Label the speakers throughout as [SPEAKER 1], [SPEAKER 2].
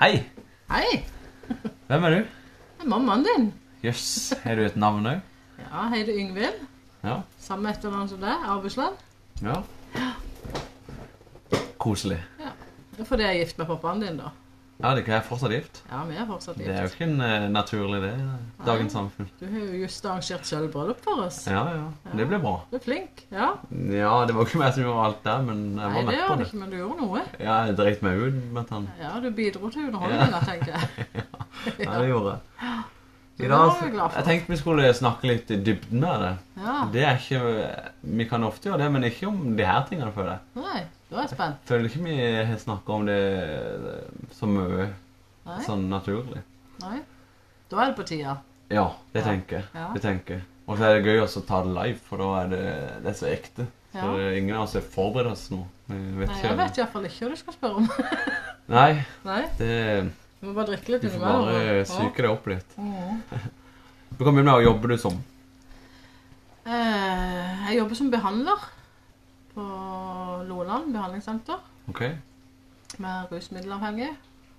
[SPEAKER 1] Hei!
[SPEAKER 2] Hei,
[SPEAKER 1] Hvem er du?
[SPEAKER 2] det er mammaen din.
[SPEAKER 1] Jøss, har du et navn òg?
[SPEAKER 2] Ja, jeg heter Yngvild.
[SPEAKER 1] Ja.
[SPEAKER 2] Samme etternavn som deg, Arvesland.
[SPEAKER 1] ja. Koselig.
[SPEAKER 2] Det er fordi jeg er gift med pappaen din, da.
[SPEAKER 1] Ja, det kan jeg fortsatt gift.
[SPEAKER 2] Ja, vi er fortsatt
[SPEAKER 1] Det er jo
[SPEAKER 2] gift.
[SPEAKER 1] ikke en eh, naturlig det i dagens samfunn.
[SPEAKER 2] Du har jo just arrangert sølvbryllup for oss.
[SPEAKER 1] Ja, ja. Det blir bra.
[SPEAKER 2] Du er flink. Ja.
[SPEAKER 1] Ja, det var ikke meg som gjorde alt der, men jeg
[SPEAKER 2] Nei,
[SPEAKER 1] var
[SPEAKER 2] det
[SPEAKER 1] med
[SPEAKER 2] gjør
[SPEAKER 1] på
[SPEAKER 2] du
[SPEAKER 1] det.
[SPEAKER 2] ikke, men du gjorde noe.
[SPEAKER 1] Ja, jeg dreit meg ut med han.
[SPEAKER 2] Ja, du bidro til underholdninga, tenker jeg.
[SPEAKER 1] Ja, det gjorde jeg.
[SPEAKER 2] Så
[SPEAKER 1] I
[SPEAKER 2] det
[SPEAKER 1] dag,
[SPEAKER 2] var vi glad for.
[SPEAKER 1] jeg tenkte vi skulle snakke litt i dybden av det.
[SPEAKER 2] Ja.
[SPEAKER 1] Det er ikke, Vi kan ofte gjøre det, men ikke om de her tingene, føler jeg.
[SPEAKER 2] Nei, da er jeg spent.
[SPEAKER 1] Føler ikke vi har snakket om det eh, så mye
[SPEAKER 2] Nei.
[SPEAKER 1] sånn naturlig.
[SPEAKER 2] Nei. Da er det på tida.
[SPEAKER 1] Ja, det
[SPEAKER 2] Ja.
[SPEAKER 1] tenker jeg.
[SPEAKER 2] Ja.
[SPEAKER 1] Det tenker jeg. Og så er det gøy også å ta det live, for da er det, det er så ekte. Så
[SPEAKER 2] Ja.
[SPEAKER 1] det er ingen av oss har forberedt oss nå. Vi vet
[SPEAKER 2] Nei,
[SPEAKER 1] ikke.
[SPEAKER 2] jeg vet iallfall ikke hva du skal spørre om.
[SPEAKER 1] Nei,
[SPEAKER 2] Nei,
[SPEAKER 1] det,
[SPEAKER 2] Du må bare drikke litt
[SPEAKER 1] du får bare psyke deg opp litt.
[SPEAKER 2] Ja. Mm.
[SPEAKER 1] Du kan begynne med å jobbe du som.
[SPEAKER 2] Eh, Jeg jobber som behandler på Loland behandlingssenter
[SPEAKER 1] Ok?
[SPEAKER 2] med rusmiddelavhengige.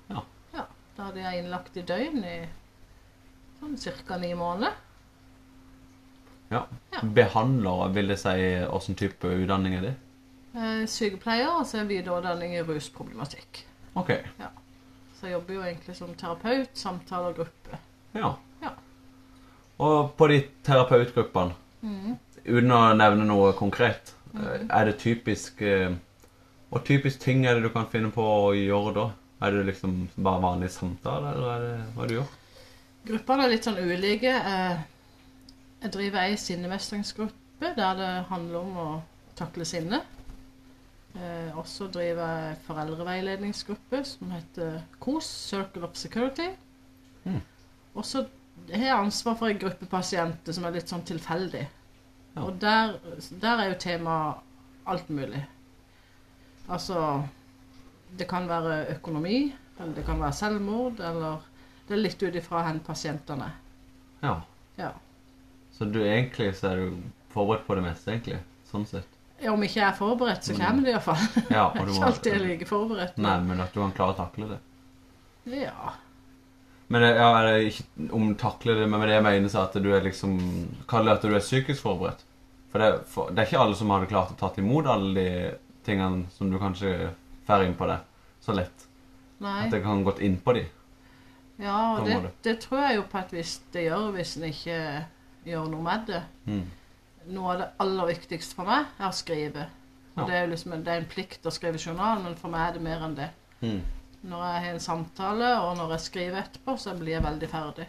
[SPEAKER 1] Ja.
[SPEAKER 2] ja. Da hadde jeg innlagt i døgn i sånn ca. ni måneder.
[SPEAKER 1] Ja.
[SPEAKER 2] Ja.
[SPEAKER 1] Behandler, vil det si åssen type utdanning er det?
[SPEAKER 2] Eh, Sykepleier og så er videreutdanning i rusproblematikk.
[SPEAKER 1] Ok.
[SPEAKER 2] Så jeg jobber jo egentlig som terapeut, samtaler, gruppe.
[SPEAKER 1] Ja.
[SPEAKER 2] Ja.
[SPEAKER 1] Og på de terapeutgruppene, uten å nevne noe konkret, eh, er det typisk eh, Og typisk ting er det du kan finne på å gjøre da? Er det liksom bare vanlig samtale, eller er det hva du gjør?
[SPEAKER 2] Gruppene er litt sånn ulike. Eh, Jeg driver ei sinnemestringsgruppe der det handler om å takle sinne. Eh, Og så driver jeg ei foreldreveiledningsgruppe som heter KOS, Circle of Security.
[SPEAKER 1] Mm.
[SPEAKER 2] Og så har jeg ansvar for ei gruppe pasienter som er litt sånn tilfeldig.
[SPEAKER 1] Ja.
[SPEAKER 2] Og der, der er jo temaet alt mulig. Altså Det kan være økonomi, eller det kan være selvmord, eller Det er litt ut ifra hen pasientene.
[SPEAKER 1] Ja.
[SPEAKER 2] Ja.
[SPEAKER 1] Så du egentlig så er du forberedt på det meste, egentlig. Sånn sett.
[SPEAKER 2] Ja, Om ikke jeg er forberedt, så kommer det iallfall.
[SPEAKER 1] Mm. Ja, og
[SPEAKER 2] Jeg er
[SPEAKER 1] du
[SPEAKER 2] ikke
[SPEAKER 1] må,
[SPEAKER 2] alltid like forberedt.
[SPEAKER 1] nei, men at du kan klare å takle det.
[SPEAKER 2] Ja.
[SPEAKER 1] Men eh, ja, er det ikke om takle det, men med det jeg mener så at du er liksom Kall det at du er psykisk forberedt. For det, er- for det er ikke alle som hadde klart å tatt imot alle de tingene som du kanskje får inn på deg så lett.
[SPEAKER 2] Nei.
[SPEAKER 1] At det kan gått inn på de.
[SPEAKER 2] Ja,
[SPEAKER 1] På
[SPEAKER 2] og
[SPEAKER 1] en
[SPEAKER 2] det,
[SPEAKER 1] måte.
[SPEAKER 2] det tror jeg jo på at hvis det gjør, hvis en ikke gjør noe med det.
[SPEAKER 1] Mm.
[SPEAKER 2] Noe av det aller viktigste for meg er å skrive. Og
[SPEAKER 1] Ja.
[SPEAKER 2] det er jo liksom en, det er en plikt å skrive journal, men for meg er det mer enn det.
[SPEAKER 1] Mm.
[SPEAKER 2] Når jeg har en samtale, og når jeg skriver etterpå, så blir jeg veldig ferdig.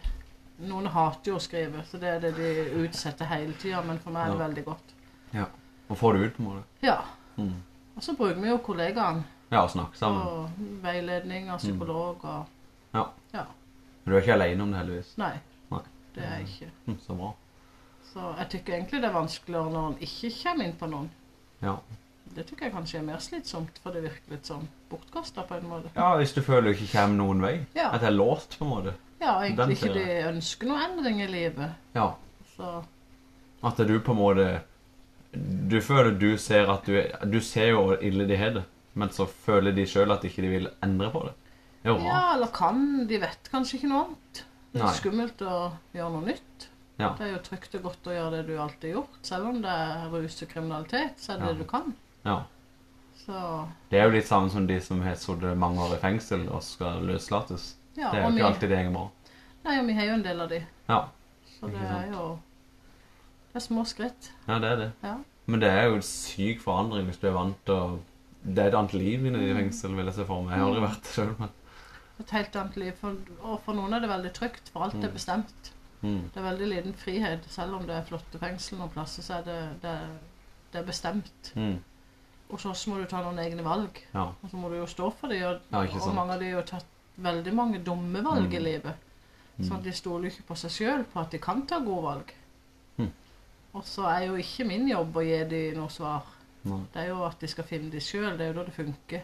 [SPEAKER 2] Noen hater jo å skrive, så det er det de utsetter hele tida, men for meg er det
[SPEAKER 1] Ja.
[SPEAKER 2] veldig godt.
[SPEAKER 1] Og får det ut på en måte.
[SPEAKER 2] Ja.
[SPEAKER 1] Mm.
[SPEAKER 2] Og så bruker vi jo kollegaene
[SPEAKER 1] Ja, og snakke sammen.
[SPEAKER 2] og veiledning og psykolog og
[SPEAKER 1] Men du er ikke aleine om det, heldigvis.
[SPEAKER 2] Nei,
[SPEAKER 1] Nei.
[SPEAKER 2] det er jeg ikke.
[SPEAKER 1] Mm, så bra.
[SPEAKER 2] Så jeg tykker egentlig det er vanskeligere når en ikke kommer inn på noen.
[SPEAKER 1] Ja.
[SPEAKER 2] Det tykker jeg kanskje er mer slitsomt, for det virker litt sånn bortkasta på en måte.
[SPEAKER 1] ja, hvis du føler du ikke kommer noen vei.
[SPEAKER 2] Ja.
[SPEAKER 1] At det er låst, på en måte.
[SPEAKER 2] Ja, og egentlig
[SPEAKER 1] Den
[SPEAKER 2] ikke de ønsker noe endring i livet.
[SPEAKER 1] Ja.
[SPEAKER 2] Så
[SPEAKER 1] At du på en måte Du føler du ser at du Du ser jo hvor ille de har det, men så føler de sjøl at ikke de vil endre på det. Det er jo rart.
[SPEAKER 2] Ja, eller kan. De vet kanskje ikke noe annet. Det er
[SPEAKER 1] Nei.
[SPEAKER 2] skummelt å gjøre noe nytt.
[SPEAKER 1] Ja.
[SPEAKER 2] Det er jo trygt og godt å gjøre det du alltid har gjort. Selv om det er rus og kriminalitet, så er det
[SPEAKER 1] Ja.
[SPEAKER 2] det du kan.
[SPEAKER 1] Ja.
[SPEAKER 2] Så
[SPEAKER 1] Det er jo litt samme som de som har sittet mange år i fengsel og skal løslates.
[SPEAKER 2] ja,
[SPEAKER 1] det er jo
[SPEAKER 2] og
[SPEAKER 1] ikke
[SPEAKER 2] vi,
[SPEAKER 1] alltid det går bra.
[SPEAKER 2] nei, og vi har jo en del av de.
[SPEAKER 1] Ja.
[SPEAKER 2] Så
[SPEAKER 1] Ikke
[SPEAKER 2] det er
[SPEAKER 1] sant.
[SPEAKER 2] jo det er små skritt.
[SPEAKER 1] ja, det er det.
[SPEAKER 2] Ja.
[SPEAKER 1] Men det er jo en syk forandring hvis du er vant til å Det er et annet liv inne
[SPEAKER 2] Mm.
[SPEAKER 1] i fengsel, vil jeg se for meg. Jeg har aldri vært det sjøl, men
[SPEAKER 2] Et helt annet liv. For, og for noen er det veldig trygt, for alt er bestemt.
[SPEAKER 1] mm.
[SPEAKER 2] Det er veldig liten frihet. Selv om det er flotte fengsel noen plasser, så er det, det, det er bestemt.
[SPEAKER 1] Mm.
[SPEAKER 2] Hos oss må du ta noen egne valg.
[SPEAKER 1] Ja.
[SPEAKER 2] Og så må du jo stå for det. Og,
[SPEAKER 1] Ja, ikke
[SPEAKER 2] og
[SPEAKER 1] sant.
[SPEAKER 2] mange av de har jo tatt veldig mange dumme valg i
[SPEAKER 1] Mm.
[SPEAKER 2] livet. Sånn at de stoler jo ikke på seg sjøl på at de kan ta gode valg.
[SPEAKER 1] Mm.
[SPEAKER 2] Og så er jo ikke min jobb å gi dem noe svar.
[SPEAKER 1] Nei.
[SPEAKER 2] Det er jo at de skal finne de sjøl. Det er jo da det funker.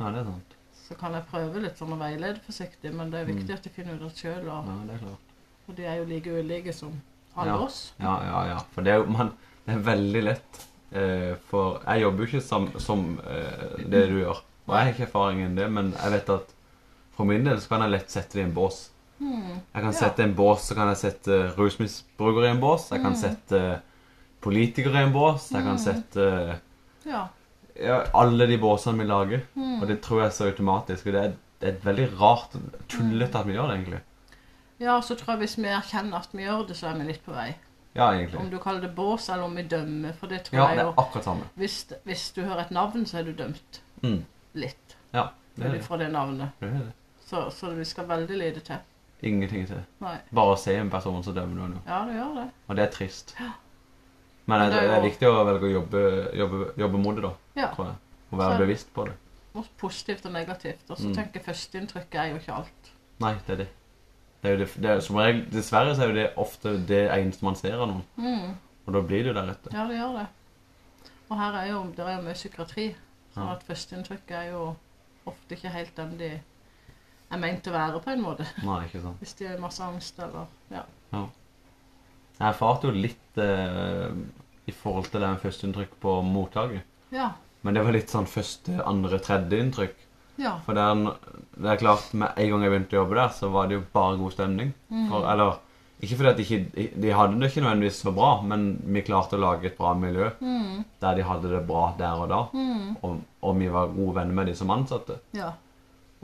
[SPEAKER 1] Ja, det er sant.
[SPEAKER 2] Så kan jeg prøve litt sånn å veilede forsiktig, men
[SPEAKER 1] Mm.
[SPEAKER 2] det er viktig at de finner ut av det sjøl. Og,
[SPEAKER 1] Ja, det er klart.
[SPEAKER 2] og de er jo like ulike som alle
[SPEAKER 1] Ja.
[SPEAKER 2] oss.
[SPEAKER 1] Ja, ja, ja. For det er jo man, Det er veldig lett. Eh, for jeg jobber jo ikke som, som eh, det du gjør. Og jeg har ikke erfaring enn det, men jeg vet at For min del så kan jeg lett sette det i en bås.
[SPEAKER 2] Mm.
[SPEAKER 1] Jeg kan
[SPEAKER 2] Ja.
[SPEAKER 1] sette en bås, så kan jeg sette rusmisbrukere i en bås. Jeg kan
[SPEAKER 2] Mm.
[SPEAKER 1] sette politikere i en bås. Jeg kan
[SPEAKER 2] Mm.
[SPEAKER 1] sette eh,
[SPEAKER 2] Ja.
[SPEAKER 1] ja, alle de båsene vi lager.
[SPEAKER 2] Mm.
[SPEAKER 1] Og det tror jeg er så automatisk. Og det er, det er veldig rart og tullete at vi gjør det, egentlig.
[SPEAKER 2] ja, så tror jeg hvis vi erkjenner at vi gjør det, så er vi litt på vei.
[SPEAKER 1] Ja, egentlig.
[SPEAKER 2] Om du kaller det bås, eller om vi dømmer, for det tror
[SPEAKER 1] Ja,
[SPEAKER 2] jeg
[SPEAKER 1] det
[SPEAKER 2] jo
[SPEAKER 1] er akkurat samme.
[SPEAKER 2] hvis, hvis du hører et navn, så er du dømt.
[SPEAKER 1] Mm.
[SPEAKER 2] Litt.
[SPEAKER 1] Ja, det
[SPEAKER 2] Ut
[SPEAKER 1] er det.
[SPEAKER 2] ifra det navnet.
[SPEAKER 1] det, er det.
[SPEAKER 2] Så, så vi skal veldig lite til.
[SPEAKER 1] Ingenting til.
[SPEAKER 2] Nei.
[SPEAKER 1] Bare å se en person, så dømmer du henne.
[SPEAKER 2] Ja, det gjør det.
[SPEAKER 1] Og det er trist.
[SPEAKER 2] Ja.
[SPEAKER 1] Men
[SPEAKER 2] Men
[SPEAKER 1] det,
[SPEAKER 2] det er
[SPEAKER 1] det er
[SPEAKER 2] jo-
[SPEAKER 1] viktig å velge å jobbe, jobbe, jobbe mot det, da.
[SPEAKER 2] Ja.
[SPEAKER 1] Tror jeg. Å være
[SPEAKER 2] Så-
[SPEAKER 1] bevisst på det.
[SPEAKER 2] Både positivt og negativt. Og så
[SPEAKER 1] Mm.
[SPEAKER 2] tenker jeg førsteinntrykket er jo ikke alt.
[SPEAKER 1] Nei, det er det. Det er jo det, det er, som regel, dessverre så er jo det ofte det eneste man ser av noen.
[SPEAKER 2] Mm.
[SPEAKER 1] Og da blir det jo deretter.
[SPEAKER 2] Ja, det gjør det. Og her er jo, det er jo mye psykiatri. Så
[SPEAKER 1] Ja.
[SPEAKER 2] at førsteinntrykket er jo ofte ikke helt den de er meint å være, på en måte.
[SPEAKER 1] Nei, ikke sant.
[SPEAKER 2] Hvis de har masse angst eller Ja.
[SPEAKER 1] Jeg erfarte jo litt eh, i forhold til det med førsteinntrykk på mottaket.
[SPEAKER 2] Ja.
[SPEAKER 1] Men det var litt sånn første, andre, tredje inntrykk.
[SPEAKER 2] ja.
[SPEAKER 1] For det er, det er klart, med en gang jeg begynte å jobbe der, så var det jo bare god stemning.
[SPEAKER 2] Mm.
[SPEAKER 1] For, eller, ikke fordi at de, ikke, de hadde det ikke nødvendigvis så bra, men vi klarte å lage et bra miljø
[SPEAKER 2] Mm.
[SPEAKER 1] der de hadde det bra der og da.
[SPEAKER 2] Mm.
[SPEAKER 1] Og, og vi var gode venner med de som ansatte.
[SPEAKER 2] Ja.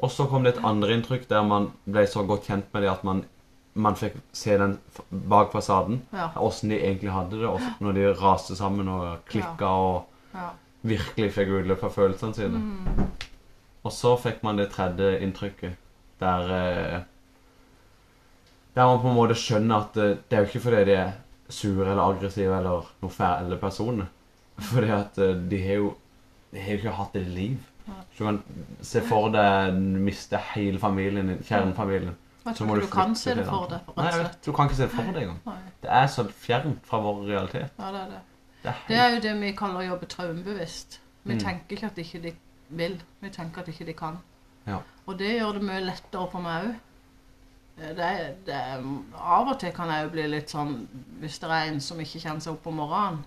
[SPEAKER 1] Og så kom det et andre inntrykk der man ble så godt kjent med de at man, man fikk se den f- bak fasaden.
[SPEAKER 2] Ja.
[SPEAKER 1] Åssen de egentlig hadde det, og så- når de raste sammen og klikka og
[SPEAKER 2] ja.
[SPEAKER 1] virkelig fikk utløp for følelsene sine.
[SPEAKER 2] Mm.
[SPEAKER 1] Og så fikk man det tredje inntrykket, der eh, Der man på en måte skjønner at eh, det er jo ikke fordi de er sure eller aggressive eller noe fæle personer. Fordi at eh, de har jo De har jo ikke hatt et liv.
[SPEAKER 2] Nei.
[SPEAKER 1] Så du kan se for deg miste hele familien din, kjernefamilien.
[SPEAKER 2] Jeg
[SPEAKER 1] Så
[SPEAKER 2] tror
[SPEAKER 1] må
[SPEAKER 2] ikke du kan
[SPEAKER 1] flykte
[SPEAKER 2] se det
[SPEAKER 1] til
[SPEAKER 2] for
[SPEAKER 1] et
[SPEAKER 2] deg,
[SPEAKER 1] annet.
[SPEAKER 2] rett og
[SPEAKER 1] Nei, jeg
[SPEAKER 2] slett.
[SPEAKER 1] vet, du kan ikke se det for deg engang.
[SPEAKER 2] Nei.
[SPEAKER 1] Det er så fjernt fra vår realitet.
[SPEAKER 2] Ja, det er det.
[SPEAKER 1] Det er
[SPEAKER 2] Det
[SPEAKER 1] helt
[SPEAKER 2] er jo det vi kaller å jobbe traumebevisst. Vi
[SPEAKER 1] Mm.
[SPEAKER 2] tenker ikke at ikke de vil, vi tenker at ikke de kan.
[SPEAKER 1] Ja.
[SPEAKER 2] Og det gjør det mye lettere for meg òg. Det, er- det, er- av og til kan jeg jo bli litt sånn Hvis det er en som ikke kjenner seg opp om morgenen,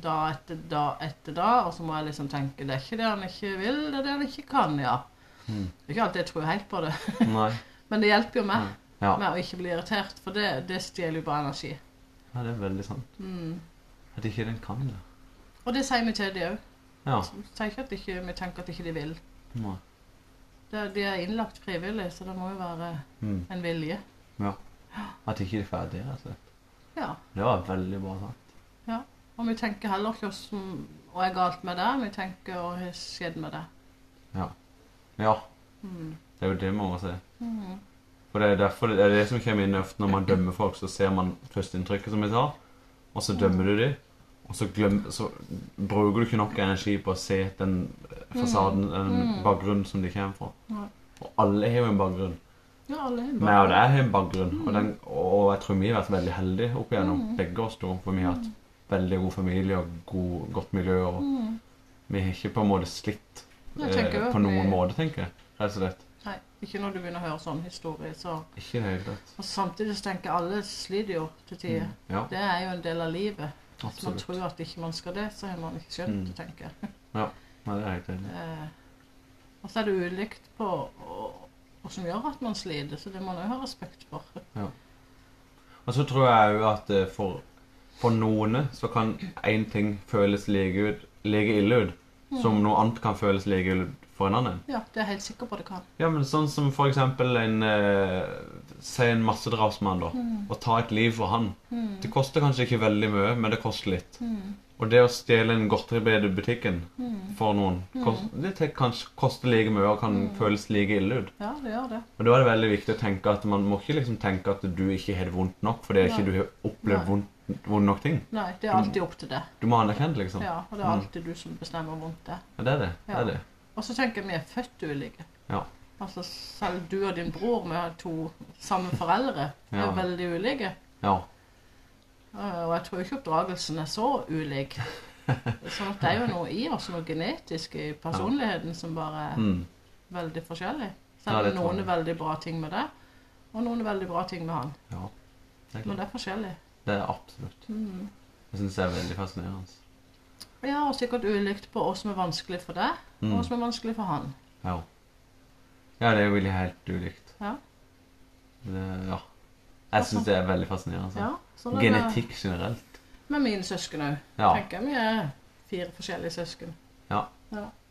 [SPEAKER 2] da etter da etter da, og så må jeg liksom tenke det er ikke det han ikke vil, det er det han ikke kan, ja.
[SPEAKER 1] Mm.
[SPEAKER 2] Det er ikke alltid jeg tror helt på det,
[SPEAKER 1] Nei.
[SPEAKER 2] men det hjelper jo meg
[SPEAKER 1] Ja.
[SPEAKER 2] med å ikke bli irritert, for det, det stjeler jo bare energi.
[SPEAKER 1] ja, det er veldig sant.
[SPEAKER 2] Mm.
[SPEAKER 1] At ikke den kan det.
[SPEAKER 2] Og det sier vi til de òg.
[SPEAKER 1] Ja.
[SPEAKER 2] Sier ikke at ikke, vi tenker at ikke de vil.
[SPEAKER 1] Nei.
[SPEAKER 2] Det, de er innlagt frivillig, så det må jo være
[SPEAKER 1] Mm.
[SPEAKER 2] en vilje.
[SPEAKER 1] At ikke de får det, rett og slett.
[SPEAKER 2] Ja.
[SPEAKER 1] Det var veldig bra sagt.
[SPEAKER 2] Og vi tenker heller ikke hva som hva er galt med deg, vi tenker hva har skjedd med deg.
[SPEAKER 1] Ja,
[SPEAKER 2] Mm.
[SPEAKER 1] det er jo det man må se.
[SPEAKER 2] Mm.
[SPEAKER 1] For det er derfor det, er det som kommer inn ofte når man dømmer folk, så ser man førsteinntrykket, som jeg sa, og så dømmer du dem. Og så, glem, så bruker du ikke nok energi på å se den eh, fasaden, den
[SPEAKER 2] Mm.
[SPEAKER 1] bakgrunnen som de kommer fra.
[SPEAKER 2] Nei.
[SPEAKER 1] Og alle har jo en bakgrunn.
[SPEAKER 2] Ja, alle er
[SPEAKER 1] Meg og deg har en bakgrunn, og, den, og jeg tror vi har vært veldig heldige opp igjennom.
[SPEAKER 2] Mm.
[SPEAKER 1] Begge oss to, for vi har hatt veldig god familie og god, godt miljø. og...
[SPEAKER 2] Mm.
[SPEAKER 1] Vi har ikke på en måte slitt
[SPEAKER 2] Jeg tenker
[SPEAKER 1] eh,
[SPEAKER 2] jo at
[SPEAKER 1] på noen
[SPEAKER 2] vi-
[SPEAKER 1] måte, tenker jeg. Rett og slett.
[SPEAKER 2] Nei, ikke når du begynner å høre sånn historie. Så.
[SPEAKER 1] Ikke i det hele tatt.
[SPEAKER 2] Og samtidig så tenker jeg alle sliter jo til tider.
[SPEAKER 1] Ja,
[SPEAKER 2] Det er jo en del av livet. Hvis man
[SPEAKER 1] Mm. absolutt.
[SPEAKER 2] tror at ikke man skal det, så har man ikke skjønt det, tenker jeg.
[SPEAKER 1] Nei, det er jeg helt enig. i.
[SPEAKER 2] Eh, og så er det ulikt på hva som gjør at man sliter, så det må man òg ha respekt for.
[SPEAKER 1] Og så tror jeg òg at eh, for, for noen så kan én ting føles like, ut, like ille ut,
[SPEAKER 2] Mm.
[SPEAKER 1] som noe annet kan føles like ille ut for en annen.
[SPEAKER 2] Ja, det er jeg helt sikker på det kan.
[SPEAKER 1] Ja, men sånn som for eksempel en eh, Si en massedrapsmann, da.
[SPEAKER 2] Mm.
[SPEAKER 1] Å ta et liv for han. Det koster kanskje ikke veldig mye, men det koster litt.
[SPEAKER 2] Mm.
[SPEAKER 1] Og det å stjele en godteribeid i butikken for noen,
[SPEAKER 2] Mm.
[SPEAKER 1] kost, det te- kan koste like mye og kan føles like ille ut.
[SPEAKER 2] Ja, det gjør det.
[SPEAKER 1] Og da er det veldig viktig å tenke at man må ikke liksom tenke at du ikke har det vondt nok fordi ikke
[SPEAKER 2] Nei.
[SPEAKER 1] du har opplevd
[SPEAKER 2] Nei.
[SPEAKER 1] vondt, vond nok ting.
[SPEAKER 2] Nei, det er alltid opp til deg.
[SPEAKER 1] Du må anerkjenne det, liksom. Mm. Ja.
[SPEAKER 2] Ja, og det er alltid du som bestemmer hvor vondt det er.
[SPEAKER 1] det er det. det,
[SPEAKER 2] Ja.
[SPEAKER 1] er det.
[SPEAKER 2] Og så tenker jeg vi er født ulike.
[SPEAKER 1] Ja.
[SPEAKER 2] Altså selv du og din bror med to samme foreldre er
[SPEAKER 1] Ja.
[SPEAKER 2] veldig ulike.
[SPEAKER 1] Ja.
[SPEAKER 2] Eh, Og jeg tror ikke oppdragelsen er så ulik. Sånn at det er jo noe i oss, noe genetisk i personligheten som bare er
[SPEAKER 1] Mm.
[SPEAKER 2] veldig forskjellig.
[SPEAKER 1] Ja,
[SPEAKER 2] Selv
[SPEAKER 1] det
[SPEAKER 2] om
[SPEAKER 1] tror
[SPEAKER 2] noen
[SPEAKER 1] jeg.
[SPEAKER 2] er veldig bra ting med deg, og noen er veldig bra ting med han.
[SPEAKER 1] ja. Det, er
[SPEAKER 2] Men
[SPEAKER 1] klart.
[SPEAKER 2] det er forskjellig.
[SPEAKER 1] det er absolutt.
[SPEAKER 2] Mm.
[SPEAKER 1] Jeg syns det er veldig fascinerende.
[SPEAKER 2] Ja, og sikkert ulikt på hva som er vanskelig for deg, og
[SPEAKER 1] Mm.
[SPEAKER 2] hva som er vanskelig for han.
[SPEAKER 1] Ja. Ja, det er jo veldig helt ulikt.
[SPEAKER 2] Ja.
[SPEAKER 1] Det, ja. Jeg syns det er veldig fascinerende. altså.
[SPEAKER 2] Ja, sånn er det
[SPEAKER 1] Genetikk generelt.
[SPEAKER 2] med mine søsken òg.
[SPEAKER 1] Ja.
[SPEAKER 2] Tenker jeg vi er fire forskjellige søsken.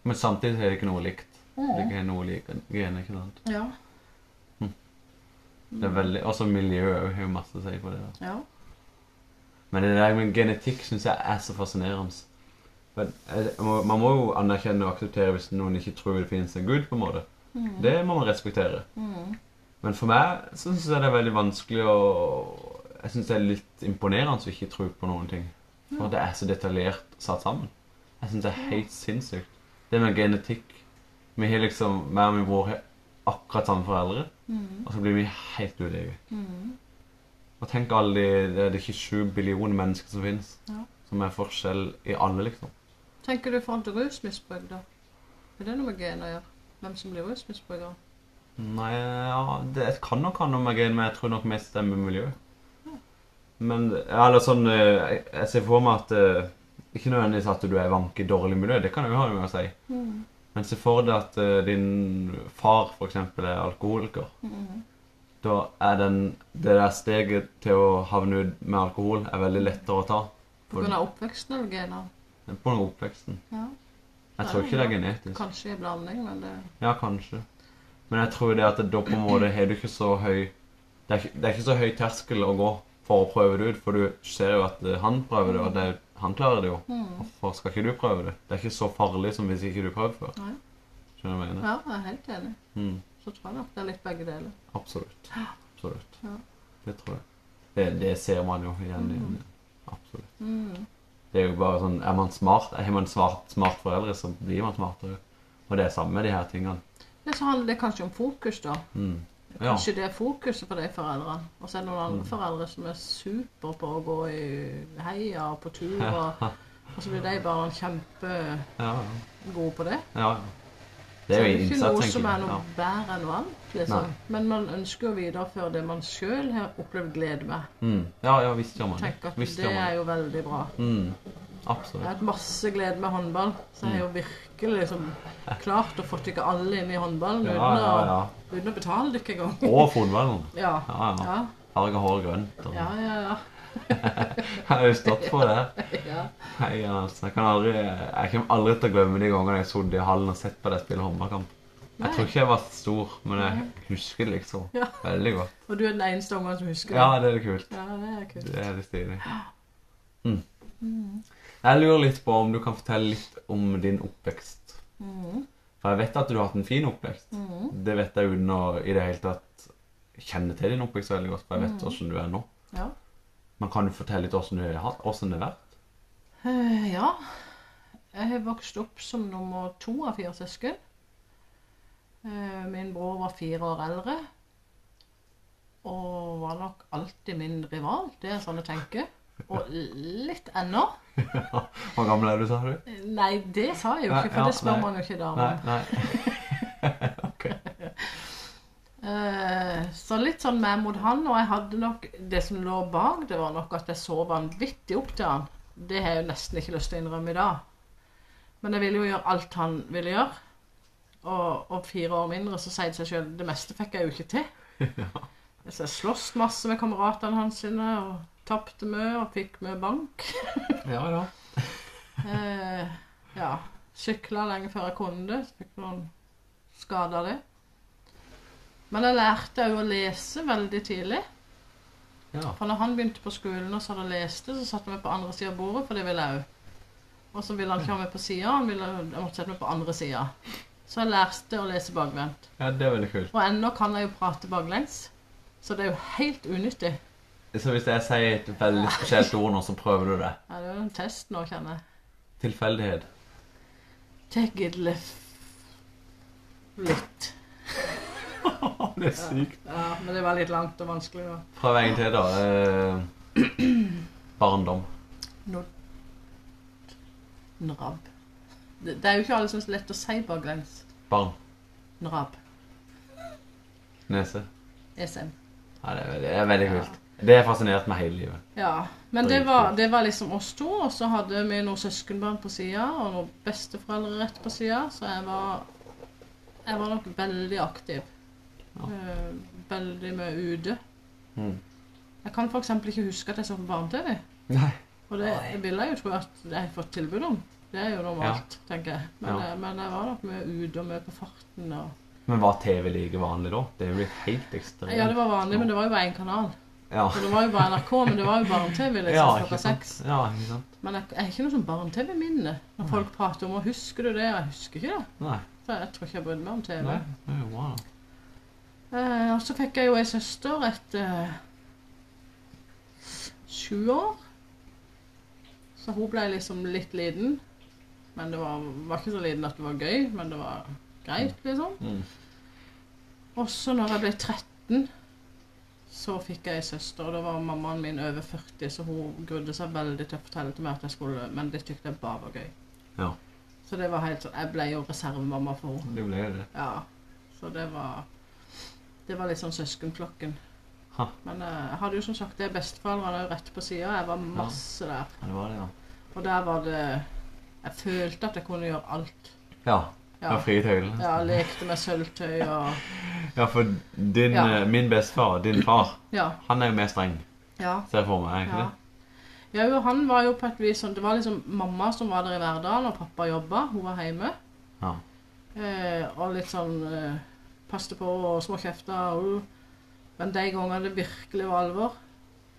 [SPEAKER 1] Men samtidig er det ikke noe likt. Det er
[SPEAKER 2] Mm.
[SPEAKER 1] ikke noe like gener, ikke sant.
[SPEAKER 2] Ja.
[SPEAKER 1] Hm.
[SPEAKER 2] Mm.
[SPEAKER 1] Det er veldig, Også miljøet har jo masse å si på det. da.
[SPEAKER 2] ja.
[SPEAKER 1] Men det der med genetikk syns jeg er så fascinerende. Men eh, jeg må, man må jo anerkjenne og akseptere hvis noen ikke tror det finnes en gud. på en måte.
[SPEAKER 2] Mm.
[SPEAKER 1] Det må man respektere.
[SPEAKER 2] Mm.
[SPEAKER 1] Men for meg så syns jeg det er veldig vanskelig å Jeg syns det er litt imponerende å ikke tro på noen ting. For det er så detaljert satt sammen. Jeg syns det er helt sinnssykt. Det med genetikk Vi har liksom Meg og min bror har akkurat samme foreldre,
[SPEAKER 2] Mm.
[SPEAKER 1] og så blir vi helt ulike.
[SPEAKER 2] Mm.
[SPEAKER 1] Og tenk alle de Det er ikke sju billioner mennesker som finnes,
[SPEAKER 2] Ja.
[SPEAKER 1] som er forskjell i alle, liksom.
[SPEAKER 2] Tenker du i forhold til rusmisbruk, da? Er det noe med gener å gjøre? Hvem som blir rusmisbrukere?
[SPEAKER 1] Nei, ja, det jeg kan nok ha noe med greiene, men jeg tror nok mest det er med miljøet. Men ja, eller sånn eh, Jeg jeg ser for meg at eh, Ikke nødvendigvis at du er vank i dårlig miljø, det kan jeg jo ha noe å si.
[SPEAKER 2] Mm.
[SPEAKER 1] Men se for deg at eh, din far f.eks. er alkoholiker.
[SPEAKER 2] Mm.
[SPEAKER 1] Da er den, det der steget til å havne ut med alkohol er veldig lettere å ta.
[SPEAKER 2] På grunn av oppveksten eller gener?
[SPEAKER 1] På grunn av oppveksten.
[SPEAKER 2] Ja.
[SPEAKER 1] Jeg tror ikke det er genetisk.
[SPEAKER 2] Kanskje i blanding, men det
[SPEAKER 1] Ja, kanskje. Men jeg tror det at da på en måte har du ikke så høy det er ikke, det er ikke så høy terskel å gå for å prøve det ut, for du ser jo at eh, han prøver det, og det, han klarer det jo.
[SPEAKER 2] mm.
[SPEAKER 1] Hvorfor skal ikke du prøve det? Det er ikke så farlig som hvis ikke du prøver før.
[SPEAKER 2] Nei.
[SPEAKER 1] Skjønner du hva jeg mener?
[SPEAKER 2] Ja, jeg er helt enig.
[SPEAKER 1] Mm,
[SPEAKER 2] Så tror jeg nok det er litt begge deler.
[SPEAKER 1] absolutt. Absolutt.
[SPEAKER 2] Ja.
[SPEAKER 1] Det tror jeg. Det, det ser man jo igjen og igjen. Absolutt.
[SPEAKER 2] Mm.
[SPEAKER 1] Det er jo bare sånn Er man smart, har man smart, smart foreldre, så blir man smartere. Og det er samme med de her tingene.
[SPEAKER 2] Det så handler det kanskje om fokus, da.
[SPEAKER 1] Mm. Ja. Mm.
[SPEAKER 2] Kanskje det er fokuset på de foreldrene. Og så er det noen andre foreldre som er super på å gå i heia og på tur, og, og så blir de bare kjempegode
[SPEAKER 1] Ja, ja.
[SPEAKER 2] på det.
[SPEAKER 1] Ja, ja. Det er jo
[SPEAKER 2] ikke
[SPEAKER 1] innsatt,
[SPEAKER 2] noe
[SPEAKER 1] tenker
[SPEAKER 2] som er
[SPEAKER 1] jeg.
[SPEAKER 2] noe
[SPEAKER 1] Ja.
[SPEAKER 2] bedre enn noe annet, liksom.
[SPEAKER 1] Nei.
[SPEAKER 2] Men man ønsker å videreføre det man sjøl har opplevd glede med.
[SPEAKER 1] Mm. ja, ja, visst gjør man
[SPEAKER 2] Tenk
[SPEAKER 1] det.
[SPEAKER 2] at
[SPEAKER 1] Visst
[SPEAKER 2] det
[SPEAKER 1] gjør man
[SPEAKER 2] er jo veldig bra.
[SPEAKER 1] det. Mm.
[SPEAKER 2] Jeg har
[SPEAKER 1] Absolutt.
[SPEAKER 2] hatt masse glede med håndball, så jeg har jo
[SPEAKER 1] Mhm.
[SPEAKER 2] virkelig liksom klart å få ikke alle inn i håndballen
[SPEAKER 1] Ja,
[SPEAKER 2] uten,
[SPEAKER 1] ja, ja.
[SPEAKER 2] Å, uten å betale dere engang.
[SPEAKER 1] Og fotballen.
[SPEAKER 2] Ja.
[SPEAKER 1] Ja, ja.
[SPEAKER 2] Ja,
[SPEAKER 1] Farge hår grønt. Og...
[SPEAKER 2] ja, ja. ja.
[SPEAKER 1] Jeg har jo stått for det.
[SPEAKER 2] ja.
[SPEAKER 1] Hei, altså. Jeg, kan aldri... jeg kommer aldri til å glemme de gangene jeg satt i hallen og sett på deg spille håndballkamp. Jeg
[SPEAKER 2] Nei.
[SPEAKER 1] tror ikke jeg var stor, men jeg husker det liksom
[SPEAKER 2] Ja.
[SPEAKER 1] veldig godt.
[SPEAKER 2] Og du er den eneste ungen som husker
[SPEAKER 1] Ja,
[SPEAKER 2] det.
[SPEAKER 1] det er litt kult.
[SPEAKER 2] Ja, det er kult.
[SPEAKER 1] Det er litt stilig. Mm. Jeg lurer litt på om du kan fortelle litt om din oppvekst. Mm.
[SPEAKER 2] Mhm.
[SPEAKER 1] For jeg vet at du har hatt en fin oppvekst.
[SPEAKER 2] Mhm.
[SPEAKER 1] Det vet jeg uten å i det hele tatt kjenne til din oppvekst veldig godt, for jeg vet hvordan du er nå.
[SPEAKER 2] Ja.
[SPEAKER 1] Men kan du fortelle litt hvordan du har hatt, hvordan det har vært?
[SPEAKER 2] Eh, ja. Jeg har vokst opp som nummer to av fire søsken. Eh, min bror var fire år eldre. Og var nok alltid min rival. Det er sånn jeg tenker. Og litt ennå.
[SPEAKER 1] Hvor gammel er du, sa du?
[SPEAKER 2] Nei, det sa jeg jo
[SPEAKER 1] Nei, ja,
[SPEAKER 2] ikke, for det spør
[SPEAKER 1] nei.
[SPEAKER 2] man jo ikke damer
[SPEAKER 1] Nei,
[SPEAKER 2] om.
[SPEAKER 1] nei. ok.
[SPEAKER 2] Eh, Så litt sånn meg mot han, og jeg hadde nok Det som lå bak, det var nok at jeg så vanvittig opp til han. Det har jeg jo nesten ikke lyst til å innrømme i dag. Men jeg ville jo gjøre alt han ville gjøre. Og, og fire år mindre så sier det seg sjøl det meste fikk jeg jo ikke til. Så jeg sloss masse med kameratene hans sine, og tapte mye og fikk mye bank.
[SPEAKER 1] Ja, ja.
[SPEAKER 2] Eh, ja. Sykla lenge før jeg kunne det. Så fikk noen skader av det. Men jeg lærte òg å lese veldig tidlig.
[SPEAKER 1] Ja,
[SPEAKER 2] For når han begynte på skolen og satt og leste, så satt han meg på andre sida av bordet, for det ville jeg òg. Og så ville han ikke ha meg på sida, han ville jeg måtte sette meg på andre sida. Så jeg lærte å lese bakvendt.
[SPEAKER 1] ja det er veldig kult.
[SPEAKER 2] Og ennå kan jeg jo prate baklengs. Så det er jo helt unyttig.
[SPEAKER 1] Så hvis jeg sier et veldig spesielt ord nå, så prøver du det.
[SPEAKER 2] Ja, det er jo en test nå, kjenner jeg.
[SPEAKER 1] Tilfeldighet.
[SPEAKER 2] Take it left. Litt.
[SPEAKER 1] Det er sykt.
[SPEAKER 2] Ja, men det var litt langt og vanskelig. da.
[SPEAKER 1] Prøv en til, da. Eh, barndom.
[SPEAKER 2] Nord... Nrab. Det, det er jo ikke alle som er så lett å si baklengs.
[SPEAKER 1] Barn.
[SPEAKER 2] Nrab.
[SPEAKER 1] Nese.
[SPEAKER 2] SM.
[SPEAKER 1] Ja, det er veldig, det er veldig kult. Det har fascinert meg hele livet.
[SPEAKER 2] Ja, men det var, det var liksom oss to, og så hadde vi noen søskenbarn på sida, og noen besteforeldre rett på sida, så jeg var Jeg var nok veldig aktiv.
[SPEAKER 1] Ja.
[SPEAKER 2] Eh, Veldig mye ute.
[SPEAKER 1] Mm.
[SPEAKER 2] Jeg kan f.eks. ikke huske at jeg så på barne-TV.
[SPEAKER 1] Nei.
[SPEAKER 2] Og det vil jeg jo tro at jeg har fått tilbud om. Det er jo normalt, tenker jeg. Men,
[SPEAKER 1] Ja.
[SPEAKER 2] eh, men jeg var nok mye ute og mye på farten. Og...
[SPEAKER 1] Men var TV like vanlig da? Det er jo blitt helt ekstremt.
[SPEAKER 2] Ja, det var vanlig, men det var jo bare én kanal.
[SPEAKER 1] Ja.
[SPEAKER 2] Og det var jo bare NRK, men det var jo barne-TV liksom,
[SPEAKER 1] Ja, ikke
[SPEAKER 2] klokka
[SPEAKER 1] sant?
[SPEAKER 2] seks.
[SPEAKER 1] Ja, ikke sant?
[SPEAKER 2] Men jeg, jeg har ikke noe sånn barne-TV-minne. Når folk prater om å 'husker du det', jeg husker ikke det.
[SPEAKER 1] Nei.
[SPEAKER 2] For jeg tror ikke jeg brydde meg om TV.
[SPEAKER 1] Nei. Det er jo bra, da.
[SPEAKER 2] Eh, og så fikk jeg jo ei søster etter eh, sju år. Så hun ble liksom litt liten. Men det var, var ikke så liten at det var gøy, men det var greit, liksom.
[SPEAKER 1] Mm.
[SPEAKER 2] Og så når jeg ble 13, så fikk jeg ei søster. og Da var mammaen min over 40, så hun grudde seg veldig til å fortelle til meg at jeg skulle Men det tykte jeg bare var gøy.
[SPEAKER 1] Ja.
[SPEAKER 2] Så det var helt sånn Jeg ble jo reservemamma for henne.
[SPEAKER 1] Det ble det.
[SPEAKER 2] Ja, så det var Det var litt sånn søskenflokken.
[SPEAKER 1] Ha.
[SPEAKER 2] Men eh, jeg hadde jo som sagt det besteforeldrene jo rett på sida. Jeg var masse der.
[SPEAKER 1] Ja, det var det, ja.
[SPEAKER 2] Og der var det Jeg følte at jeg kunne gjøre alt.
[SPEAKER 1] Ja.
[SPEAKER 2] Ja,
[SPEAKER 1] Ja, fritøylen.
[SPEAKER 2] ja lekte med sølvtøy og
[SPEAKER 1] Ja, for din,
[SPEAKER 2] Ja.
[SPEAKER 1] eh, min bestefar, din far,
[SPEAKER 2] Ja.
[SPEAKER 1] han er jo mer streng,
[SPEAKER 2] ja.
[SPEAKER 1] ser jeg for meg. er ikke
[SPEAKER 2] Ja.
[SPEAKER 1] det?
[SPEAKER 2] Ja, jo, han var jo på et vis sånn Det var liksom mamma som var der i hverdagen, og pappa jobba. Hun var hjemme.
[SPEAKER 1] Ja.
[SPEAKER 2] Eh, og litt sånn eh, Passte på og små kjefter. Og, men de gangene det virkelig var alvor,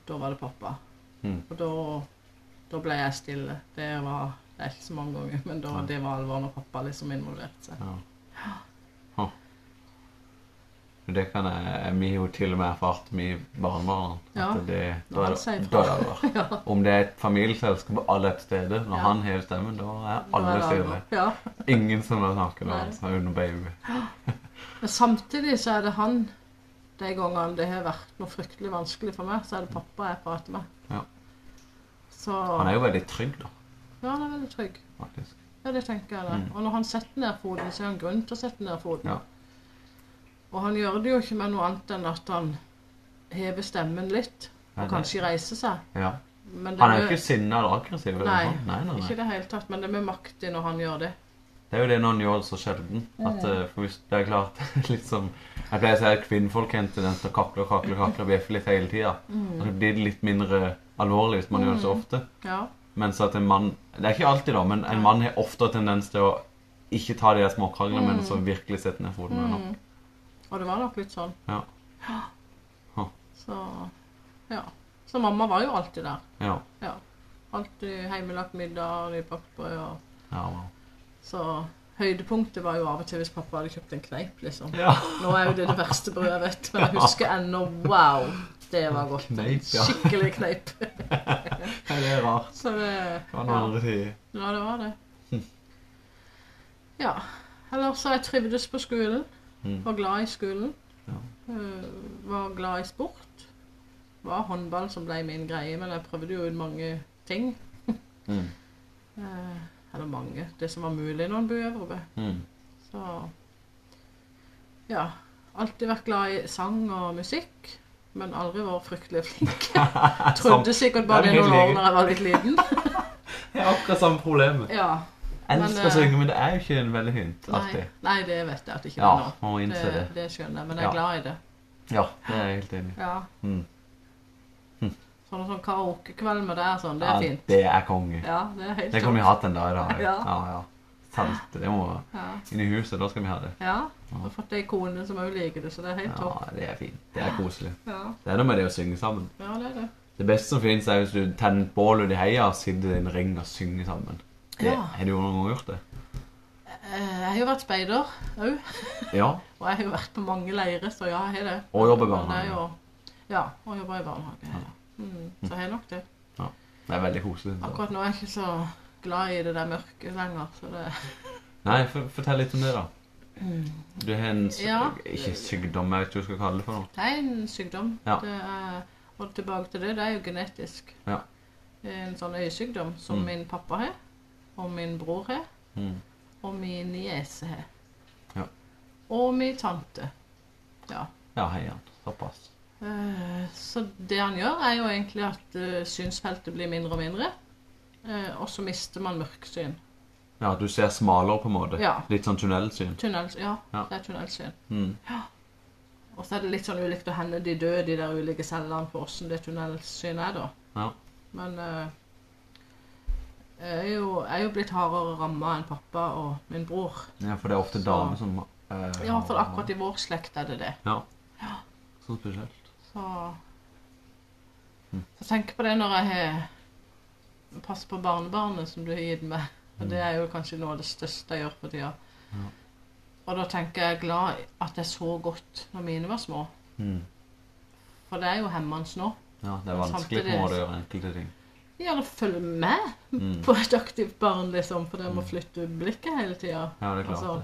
[SPEAKER 2] da var det pappa.
[SPEAKER 1] Mm.
[SPEAKER 2] Og da, da ble jeg stille. Det var det er ikke så mange ganger, men da,
[SPEAKER 1] Nei.
[SPEAKER 2] det var alvor når pappa liksom involverte seg.
[SPEAKER 1] Ja. Huh. Det kan jeg Vi har jo til og med erfart, vi barnebarn, at
[SPEAKER 2] Ja,
[SPEAKER 1] det
[SPEAKER 2] når
[SPEAKER 1] da er
[SPEAKER 2] han sier
[SPEAKER 1] det
[SPEAKER 2] fra.
[SPEAKER 1] da er det alvor.
[SPEAKER 2] Ja.
[SPEAKER 1] Om det er et familieselskap og alle er til stede, når
[SPEAKER 2] Ja.
[SPEAKER 1] han hever stemmen, da er
[SPEAKER 2] Da
[SPEAKER 1] alle
[SPEAKER 2] er det
[SPEAKER 1] stille.
[SPEAKER 2] alvor. Ja.
[SPEAKER 1] Ingen som har snakket
[SPEAKER 2] Nei.
[SPEAKER 1] om som er under baby.
[SPEAKER 2] Men samtidig så er det han De gangene det har vært noe fryktelig vanskelig for meg, så er det pappa jeg prater med.
[SPEAKER 1] Ja.
[SPEAKER 2] Så
[SPEAKER 1] Han er jo veldig trygg, da,
[SPEAKER 2] Ja, han er veldig trygg.
[SPEAKER 1] faktisk.
[SPEAKER 2] Ja, det tenker jeg det. Og når han setter ned foten, så er han grunn til å sette ned foten.
[SPEAKER 1] Mm. Ja.
[SPEAKER 2] Og han gjør det jo ikke med noe annet enn at han hever stemmen litt,
[SPEAKER 1] Ja,
[SPEAKER 2] og
[SPEAKER 1] det-
[SPEAKER 2] kanskje reiser seg.
[SPEAKER 1] Ja.
[SPEAKER 2] Men det
[SPEAKER 1] Han er jo
[SPEAKER 2] med-
[SPEAKER 1] ikke sinna eller aggressiv. Eller
[SPEAKER 2] Nei,
[SPEAKER 1] noe sånt. nei, nei,
[SPEAKER 2] ikke
[SPEAKER 1] nei.
[SPEAKER 2] i det hele tatt, men det er med makt i når han gjør det.
[SPEAKER 1] Det er jo det når han gjør det så sjelden. At,
[SPEAKER 2] Mm.
[SPEAKER 1] eh, for hvis det er klart, litt som Jeg pleier å si at kvinnfolk har en tendens til å kakle og kakle og kakle og bjeffe litt hele tida.
[SPEAKER 2] Mm.
[SPEAKER 1] Og så blir det litt mindre alvorlig hvis man gjør det så ofte.
[SPEAKER 2] Ja,
[SPEAKER 1] Mens at en mann Det er ikke alltid, da, men en mann har ofte tendens til å ikke ta de der småkranglene,
[SPEAKER 2] Mm.
[SPEAKER 1] men så virkelig sette ned foten. med noe.
[SPEAKER 2] og det var nok litt sånn.
[SPEAKER 1] Ja. Huh.
[SPEAKER 2] Så, ja. Så mamma var jo alltid der.
[SPEAKER 1] Ja.
[SPEAKER 2] Ja. Alltid hjemmelagt middag, nybakt brød og
[SPEAKER 1] Ja, wow.
[SPEAKER 2] Så høydepunktet var jo av og til hvis pappa hadde kjøpt en kneip, liksom.
[SPEAKER 1] ja.
[SPEAKER 2] Nå er jo det det verste brødet jeg vet, men jeg husker ennå Wow, det var godt. En
[SPEAKER 1] Kneip, ja.
[SPEAKER 2] skikkelig kneip.
[SPEAKER 1] Nei, Det er rart.
[SPEAKER 2] Så det
[SPEAKER 1] Hva
[SPEAKER 2] ja,
[SPEAKER 1] den andre sier.
[SPEAKER 2] ja, det var det. Ja. Ellers så jeg trivdes på skolen.
[SPEAKER 1] Mm.
[SPEAKER 2] Var glad i skolen.
[SPEAKER 1] Ja.
[SPEAKER 2] Eh, Var glad i sport. Var håndball som ble min greie, men jeg prøvde jo ut mange ting.
[SPEAKER 1] Mm.
[SPEAKER 2] Eh, Eller mange. Det som var mulig når en bor i Øvrebø.
[SPEAKER 1] Mm.
[SPEAKER 2] Så ja. Alltid vært glad i sang og musikk, men aldri vært fryktelig flink. Trodde sikkert bare
[SPEAKER 1] Det
[SPEAKER 2] det
[SPEAKER 1] er
[SPEAKER 2] noen
[SPEAKER 1] helt
[SPEAKER 2] år
[SPEAKER 1] like.
[SPEAKER 2] da jeg var litt liten.
[SPEAKER 1] Det er akkurat samme problemet.
[SPEAKER 2] Ja,
[SPEAKER 1] Elsker
[SPEAKER 2] Men,
[SPEAKER 1] å
[SPEAKER 2] eh,
[SPEAKER 1] synge, men det er jo ikke en veldig hint
[SPEAKER 2] nei,
[SPEAKER 1] alltid.
[SPEAKER 2] nei, det vet jeg at ikke
[SPEAKER 1] Ja,
[SPEAKER 2] det er nå.
[SPEAKER 1] må innse
[SPEAKER 2] Det,
[SPEAKER 1] det.
[SPEAKER 2] det skjønner jeg, men jeg
[SPEAKER 1] Ja.
[SPEAKER 2] er glad i det.
[SPEAKER 1] Ja, det er jeg helt enig i.
[SPEAKER 2] Ja.
[SPEAKER 1] Mm.
[SPEAKER 2] Sånn sånn karaokekveld med deg sånn, det
[SPEAKER 1] Ja,
[SPEAKER 2] er fint.
[SPEAKER 1] Det er konge.
[SPEAKER 2] Ja, det er helt
[SPEAKER 1] Det kan vi ha til en dag i dag.
[SPEAKER 2] Ja.
[SPEAKER 1] ja. ja. Sant. Det må
[SPEAKER 2] Ja.
[SPEAKER 1] inn i huset, da skal vi ha det.
[SPEAKER 2] ja. Du har fått ei kone som òg liker det, så det er helt
[SPEAKER 1] Ja,
[SPEAKER 2] topp.
[SPEAKER 1] det er fint. Det er koselig.
[SPEAKER 2] Ja.
[SPEAKER 1] Det er noe med det å synge sammen.
[SPEAKER 2] ja, det er det.
[SPEAKER 1] Det beste som finnes er hvis du tenner et bål ute i heia og sitter i en ring og synger sammen. Det,
[SPEAKER 2] Ja.
[SPEAKER 1] Har du jo noen gang gjort det?
[SPEAKER 2] Eh, Jeg har jo vært speider òg.
[SPEAKER 1] Ja.
[SPEAKER 2] Og jeg har jo vært på mange leirer, så ja, jeg har det.
[SPEAKER 1] Og jobber i
[SPEAKER 2] Men det er
[SPEAKER 1] barnehage.
[SPEAKER 2] jo- Ja, og jobber i barnehage. Ja. Mm, så jeg har nok det.
[SPEAKER 1] Det er veldig koselig.
[SPEAKER 2] Akkurat nå er jeg ikke så glad i det der mørket lenger, så det
[SPEAKER 1] Nei, for, fortell litt om det, da. Du har en sy-
[SPEAKER 2] Mm. Ja.
[SPEAKER 1] Ikke sykdom, jeg vet ikke hva du skal kalle det for noe.
[SPEAKER 2] det er en sykdom.
[SPEAKER 1] Ja.
[SPEAKER 2] Det er, og tilbake til det, det er jo genetisk.
[SPEAKER 1] Ja.
[SPEAKER 2] Det er en sånn øyesykdom som
[SPEAKER 1] Mm.
[SPEAKER 2] min pappa har, og min bror har,
[SPEAKER 1] Mm.
[SPEAKER 2] og min niese har.
[SPEAKER 1] Ja.
[SPEAKER 2] Og min tante. Ja.
[SPEAKER 1] Ja, heian. Såpass.
[SPEAKER 2] Eh, Så det han gjør, er jo egentlig at eh, synsfeltet blir mindre og mindre. eh, Og så mister man mørksyn.
[SPEAKER 1] Ja, du ser smalere på en måte.
[SPEAKER 2] Ja.
[SPEAKER 1] Litt sånn tunnelsyn.
[SPEAKER 2] Tunnel, ja,
[SPEAKER 1] Ja.
[SPEAKER 2] det er tunnelsyn.
[SPEAKER 1] Mm.
[SPEAKER 2] Og så er det litt sånn ulikt å hende de døde, de der ulike cellene, på åssen det tunnelsynet er, da.
[SPEAKER 1] Ja.
[SPEAKER 2] Men eh, jeg, er jo, jeg er jo blitt hardere ramma enn pappa og min bror.
[SPEAKER 1] ja, for det er ofte
[SPEAKER 2] Så-
[SPEAKER 1] damer som eh,
[SPEAKER 2] I hvert fall akkurat i vår slekt er det det.
[SPEAKER 1] Ja. Sånn spesielt.
[SPEAKER 2] Så,
[SPEAKER 1] Hm.
[SPEAKER 2] så tenk på det når jeg har passer på barnebarnet som du har gitt meg. Og det er jo kanskje noe av det største jeg gjør på tida.
[SPEAKER 1] Hm. Ja.
[SPEAKER 2] Og da tenker jeg glad at jeg så godt når mine var små.
[SPEAKER 1] Mm.
[SPEAKER 2] For det er jo hemmende nå.
[SPEAKER 1] Ja, det er vanskelig
[SPEAKER 2] Men
[SPEAKER 1] på
[SPEAKER 2] samtidig-
[SPEAKER 1] en måte å gjøre enkelte ting.
[SPEAKER 2] Ja, da følg med
[SPEAKER 1] Mm.
[SPEAKER 2] på et aktivt barn, liksom. For det må flytte blikket hele tida.
[SPEAKER 1] Ja, Mm. det er klart.
[SPEAKER 2] Altså,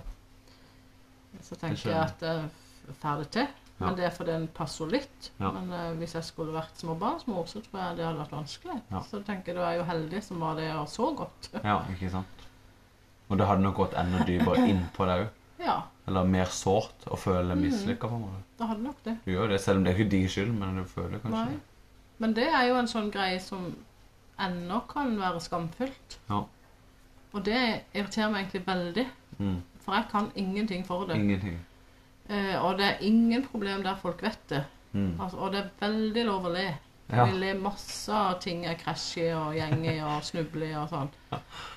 [SPEAKER 1] det.
[SPEAKER 2] så
[SPEAKER 1] Det
[SPEAKER 2] tenker
[SPEAKER 1] skjønner
[SPEAKER 2] jeg at jeg er ferdig til. Men
[SPEAKER 1] Ja.
[SPEAKER 2] det er fordi den passer litt.
[SPEAKER 1] Ja.
[SPEAKER 2] Men eh, hvis jeg skulle vært småbarnsmor, så tror jeg det hadde vært vanskelig.
[SPEAKER 1] Ja.
[SPEAKER 2] Så tenker jeg du er jo heldig som var det jeg så godt.
[SPEAKER 1] Ja, ikke sant. Og det hadde nok gått enda dypere inn på deg òg.
[SPEAKER 2] Ja,
[SPEAKER 1] Eller mer sårt å føle
[SPEAKER 2] Mhm.
[SPEAKER 1] mislykka på en måte.
[SPEAKER 2] det hadde nok det.
[SPEAKER 1] Du gjør jo det, selv om det er ikke din skyld, men du føler kanskje
[SPEAKER 2] Nei. Men det er jo en sånn greie som ennå kan være skamfullt.
[SPEAKER 1] Ja.
[SPEAKER 2] Og det irriterer meg egentlig veldig.
[SPEAKER 1] Mm.
[SPEAKER 2] For jeg kan ingenting for det.
[SPEAKER 1] Ingenting.
[SPEAKER 2] Eh, og det er ingen problem der folk vet det.
[SPEAKER 1] Mm.
[SPEAKER 2] Altså, og det er veldig lov å le.
[SPEAKER 1] Ja.
[SPEAKER 2] Vi ler masse av ting jeg krasjer i og gjenger i og snubler i og sånn.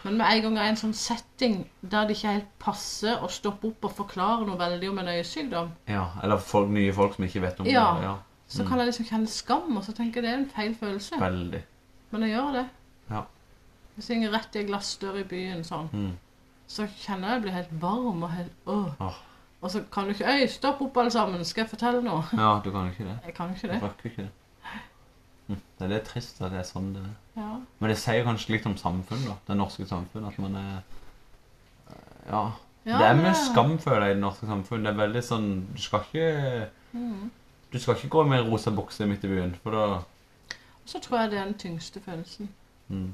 [SPEAKER 2] Men med en gang det er en sånn setting der det ikke helt passer å stoppe opp og forklare noe veldig om en øyesykdom,
[SPEAKER 1] ja. Eller folk, nye folk som ikke vet om
[SPEAKER 2] Ja.
[SPEAKER 1] det. Ja.
[SPEAKER 2] så kan jeg liksom kjenne skam, og så tenker jeg det er en feil følelse.
[SPEAKER 1] Veldig.
[SPEAKER 2] Men jeg gjør det.
[SPEAKER 1] Ja.
[SPEAKER 2] Hvis jeg går rett i en glassdør i byen sånn,
[SPEAKER 1] Mm.
[SPEAKER 2] så kjenner jeg jeg blir helt varm og helt åh.
[SPEAKER 1] Åh.
[SPEAKER 2] Og så kan du ikke Øy, stopp opp alle sammen, skal jeg fortelle noe?
[SPEAKER 1] Ja, du kan ikke det.
[SPEAKER 2] Jeg kan ikke
[SPEAKER 1] Du
[SPEAKER 2] det.
[SPEAKER 1] rakk jo ikke det. Mm. Det er litt trist at det er sånn det er.
[SPEAKER 2] Ja.
[SPEAKER 1] Men det sier jo kanskje litt om samfunnet, da. Det norske samfunnet. At man er eh, Ja.
[SPEAKER 2] Ja,
[SPEAKER 1] det er
[SPEAKER 2] det
[SPEAKER 1] mye
[SPEAKER 2] er-
[SPEAKER 1] skam, føler jeg, i det norske samfunnet. Det er veldig sånn Du skal ikke
[SPEAKER 2] Mm.
[SPEAKER 1] Du skal ikke gå med en rosa bukse midt i byen, for da
[SPEAKER 2] Så tror jeg det er den tyngste følelsen.
[SPEAKER 1] Mm.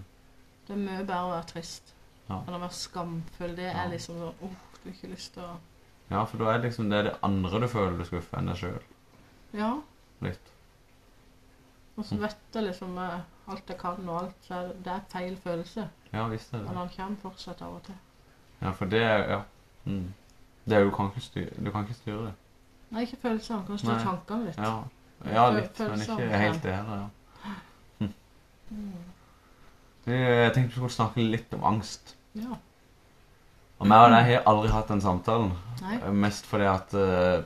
[SPEAKER 2] Det er mye bedre å være trist
[SPEAKER 1] Ja.
[SPEAKER 2] enn å være skamfull. Det
[SPEAKER 1] Ja.
[SPEAKER 2] er liksom sånn Åh, du har ikke lyst til å
[SPEAKER 1] Ja, for da er det liksom det er det andre du føler du skuffer, enn deg sjøl.
[SPEAKER 2] Ja.
[SPEAKER 1] Litt.
[SPEAKER 2] Og
[SPEAKER 1] Mm.
[SPEAKER 2] så vet jeg liksom eh, alt jeg kan og alt, så er det, det er feil følelse.
[SPEAKER 1] Ja visst er det
[SPEAKER 2] Men
[SPEAKER 1] det.
[SPEAKER 2] han kommer fortsatt av og til.
[SPEAKER 1] Ja, for det er Ja. Mm. Det er jo Du kan ikke styre, du kan ikke styre det.
[SPEAKER 2] Nei, ikke følelser. Han kan stå
[SPEAKER 1] Nei.
[SPEAKER 2] tankene litt.
[SPEAKER 1] Ja. ja,
[SPEAKER 2] Føl-
[SPEAKER 1] litt, men
[SPEAKER 2] følelser,
[SPEAKER 1] ikke
[SPEAKER 2] ja. Mm.
[SPEAKER 1] helt det heller. ja. Hm. Du, Jeg tenkte vi skulle snakke litt om angst.
[SPEAKER 2] Ja.
[SPEAKER 1] Og meg og deg har aldri hatt den samtalen.
[SPEAKER 2] Nei.
[SPEAKER 1] Mest fordi at eh,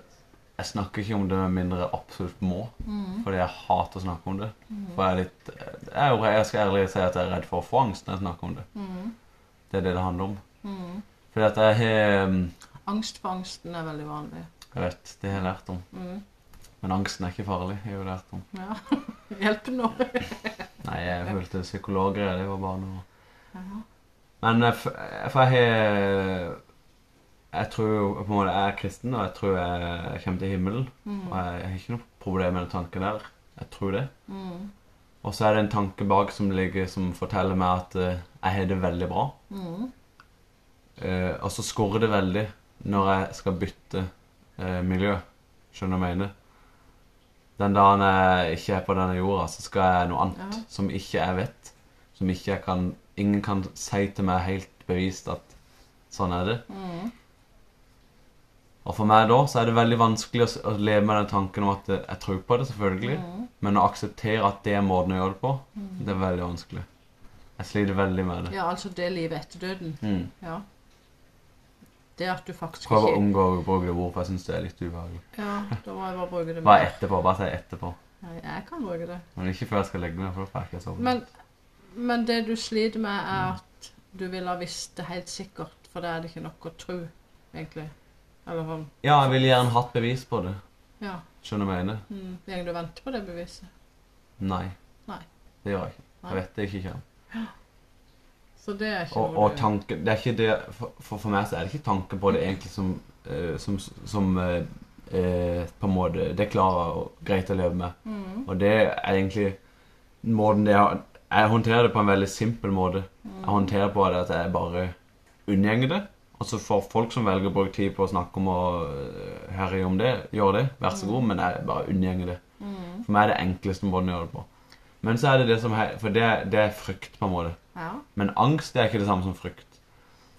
[SPEAKER 1] jeg snakker ikke om det med mindre jeg absolutt må.
[SPEAKER 2] Mm.
[SPEAKER 1] Fordi jeg hater å snakke om det. For jeg er litt eh, jeg, er jo- jeg skal ærlig si at jeg er redd for å få angst når jeg snakker om det.
[SPEAKER 2] Mm.
[SPEAKER 1] Det er det det handler om. Fordi at jeg har mm,
[SPEAKER 2] Angst for angsten er veldig vanlig. Mm.
[SPEAKER 1] Jeg vet, det har jeg lært om. Men angsten er ikke farlig, har jeg jo lært om.
[SPEAKER 2] Ja. Hjelp nå.
[SPEAKER 1] Nei, jeg følte psykologgreier, det var bare noe Men jeg, f- jeg- for jeg har Jeg tror jo på en måte jeg er kristen, og jeg tror jeg kommer til himmelen. Og jeg har ikke noe problem med den tanken der. Jeg tror det.
[SPEAKER 2] Mm.
[SPEAKER 1] Og så er det en tanke bak som ligger som forteller meg at eh, jeg har det veldig bra.
[SPEAKER 2] Mm.
[SPEAKER 1] Eh, og så skorrer det veldig når jeg skal bytte eh, miljø. Skjønner du hva jeg mener? Den dagen jeg ikke er på denne jorda, så skal jeg noe annet
[SPEAKER 2] Ja.
[SPEAKER 1] som ikke jeg vet. Som ikke jeg kan Ingen kan si til meg helt bevist at sånn er det.
[SPEAKER 2] Mm.
[SPEAKER 1] Og for meg da så er det veldig vanskelig å, s- å leve med den tanken om at eh, jeg tror på det, selvfølgelig.
[SPEAKER 2] Mm.
[SPEAKER 1] Men å akseptere at det er måten å gjøre det på, det er veldig vanskelig. Jeg sliter veldig med det.
[SPEAKER 2] Ja, altså det livet etter døden.
[SPEAKER 1] Mm.
[SPEAKER 2] Ja. Det at du faktisk
[SPEAKER 1] Prøver å
[SPEAKER 2] ikke
[SPEAKER 1] unngå å bruke det ord, for jeg syns det er litt ubehagelig.
[SPEAKER 2] Ja, da må jeg bare bruke det
[SPEAKER 1] Hva
[SPEAKER 2] mer.
[SPEAKER 1] er etterpå? Bare si etterpå.
[SPEAKER 2] Nei, jeg kan bruke det.
[SPEAKER 1] Men ikke før jeg skal legge meg, for da får jeg ikke sove.
[SPEAKER 2] Men, men det du sliter med, er at du ville ha visst det helt sikkert, for da er det ikke nok å tro, egentlig. Eller sånn.
[SPEAKER 1] Ja, jeg ville gjerne hatt bevis på det.
[SPEAKER 2] Ja.
[SPEAKER 1] Skjønner du hva jeg mener?
[SPEAKER 2] Mm. Gjeng du venter på det beviset.
[SPEAKER 1] Nei.
[SPEAKER 2] Nei.
[SPEAKER 1] Det gjør jeg ikke.
[SPEAKER 2] Nei.
[SPEAKER 1] Jeg vet det ikke kjenner.
[SPEAKER 2] Så det er ikke
[SPEAKER 1] Og,
[SPEAKER 2] noe
[SPEAKER 1] og tanken Det er ikke det for, for for meg så er det ikke tanken på det egentlig som eh, Som, som eh, eh, på en måte Det klarer og greit å leve med.
[SPEAKER 2] Mm.
[SPEAKER 1] Og det er egentlig måten det jeg, jeg håndterer det på en veldig simpel måte. Jeg håndterer på det at jeg bare unngjenger det. Og så får folk som velger å bruke tid på å snakke om og eh, herje om det, gjøre det. Vær så god, men jeg bare unngjenger det.
[SPEAKER 2] Mm.
[SPEAKER 1] For meg er det enkleste måten å gjøre det på. Men så er det det som he- For det, det er frykt, på en måte.
[SPEAKER 2] Ja.
[SPEAKER 1] Men angst det er ikke det samme som frykt.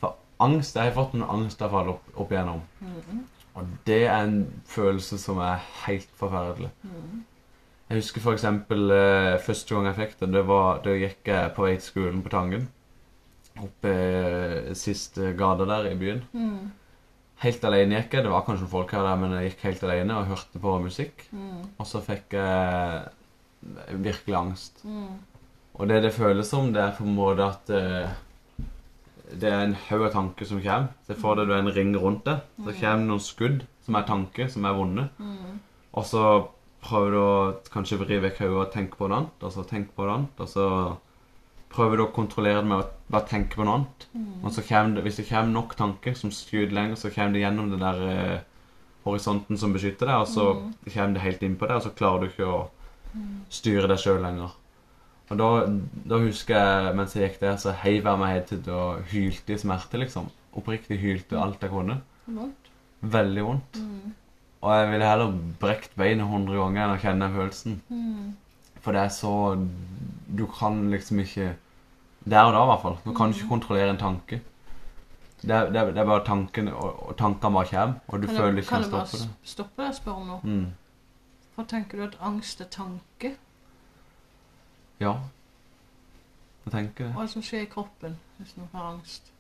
[SPEAKER 1] For angst. Jeg har fått noen angstavfall opp, opp igjennom.
[SPEAKER 2] Mhm.
[SPEAKER 1] Og det er en følelse som er helt forferdelig.
[SPEAKER 2] Mhm.
[SPEAKER 1] Jeg husker for eksempel eh, første gang jeg fikk det, det var da gikk jeg på vei til skolen på Tangen. Oppe eh, siste gata der i byen.
[SPEAKER 2] Mhm.
[SPEAKER 1] Helt alene gikk jeg. Det var kanskje noen folk her der, men jeg gikk helt alene og hørte på musikk.
[SPEAKER 2] Mhm.
[SPEAKER 1] Og så fikk jeg virkelig angst.
[SPEAKER 2] Mhm.
[SPEAKER 1] Og det det føles som, det er på en måte at eh, det er en haug av tanker som kommer. Se for deg du er en ring rundt det. Så kommer det noen skudd som er tanker, som er vonde.
[SPEAKER 2] Mhm.
[SPEAKER 1] Og så prøver du å kanskje vri vekk hodet og tenke på noe annet, og så tenke på noe annet, og så prøver du å kontrollere det med å bare tenke på noe annet.
[SPEAKER 2] Mhm.
[SPEAKER 1] Og så kommer det, hvis det kommer nok tanker som skyter lenger, så kommer det gjennom den der eh, horisonten som beskytter deg, og så kommer det helt inn på deg, og så klarer du ikke å styre deg sjøl lenger. Og da, da husker jeg, mens jeg gikk der, så heiv jeg meg helt ut og hylte i smerte, liksom. Oppriktig hylte alt jeg kunne.
[SPEAKER 2] Vondt.
[SPEAKER 1] Veldig vondt.
[SPEAKER 2] Mhm.
[SPEAKER 1] Og jeg ville heller brekt beinet 100 ganger enn å kjenne den følelsen.
[SPEAKER 2] Mhm.
[SPEAKER 1] For det er så Du kan liksom ikke Der og da, i hvert fall. Du kan ikke kontrollere en tanke. Det er, det er, det er bare tanken, og, og tankene bare kommer, og du
[SPEAKER 2] Kan
[SPEAKER 1] føler
[SPEAKER 2] jeg-
[SPEAKER 1] ikke
[SPEAKER 2] Kan
[SPEAKER 1] kan
[SPEAKER 2] jeg bare
[SPEAKER 1] stoppe det.
[SPEAKER 2] s- stoppe deg og spørre om noe?
[SPEAKER 1] Mm.
[SPEAKER 2] Hva tenker du at angst er tanke?
[SPEAKER 1] Ja. Jeg tenker det.
[SPEAKER 2] Hva er det som skjer i kroppen hvis noen har angst?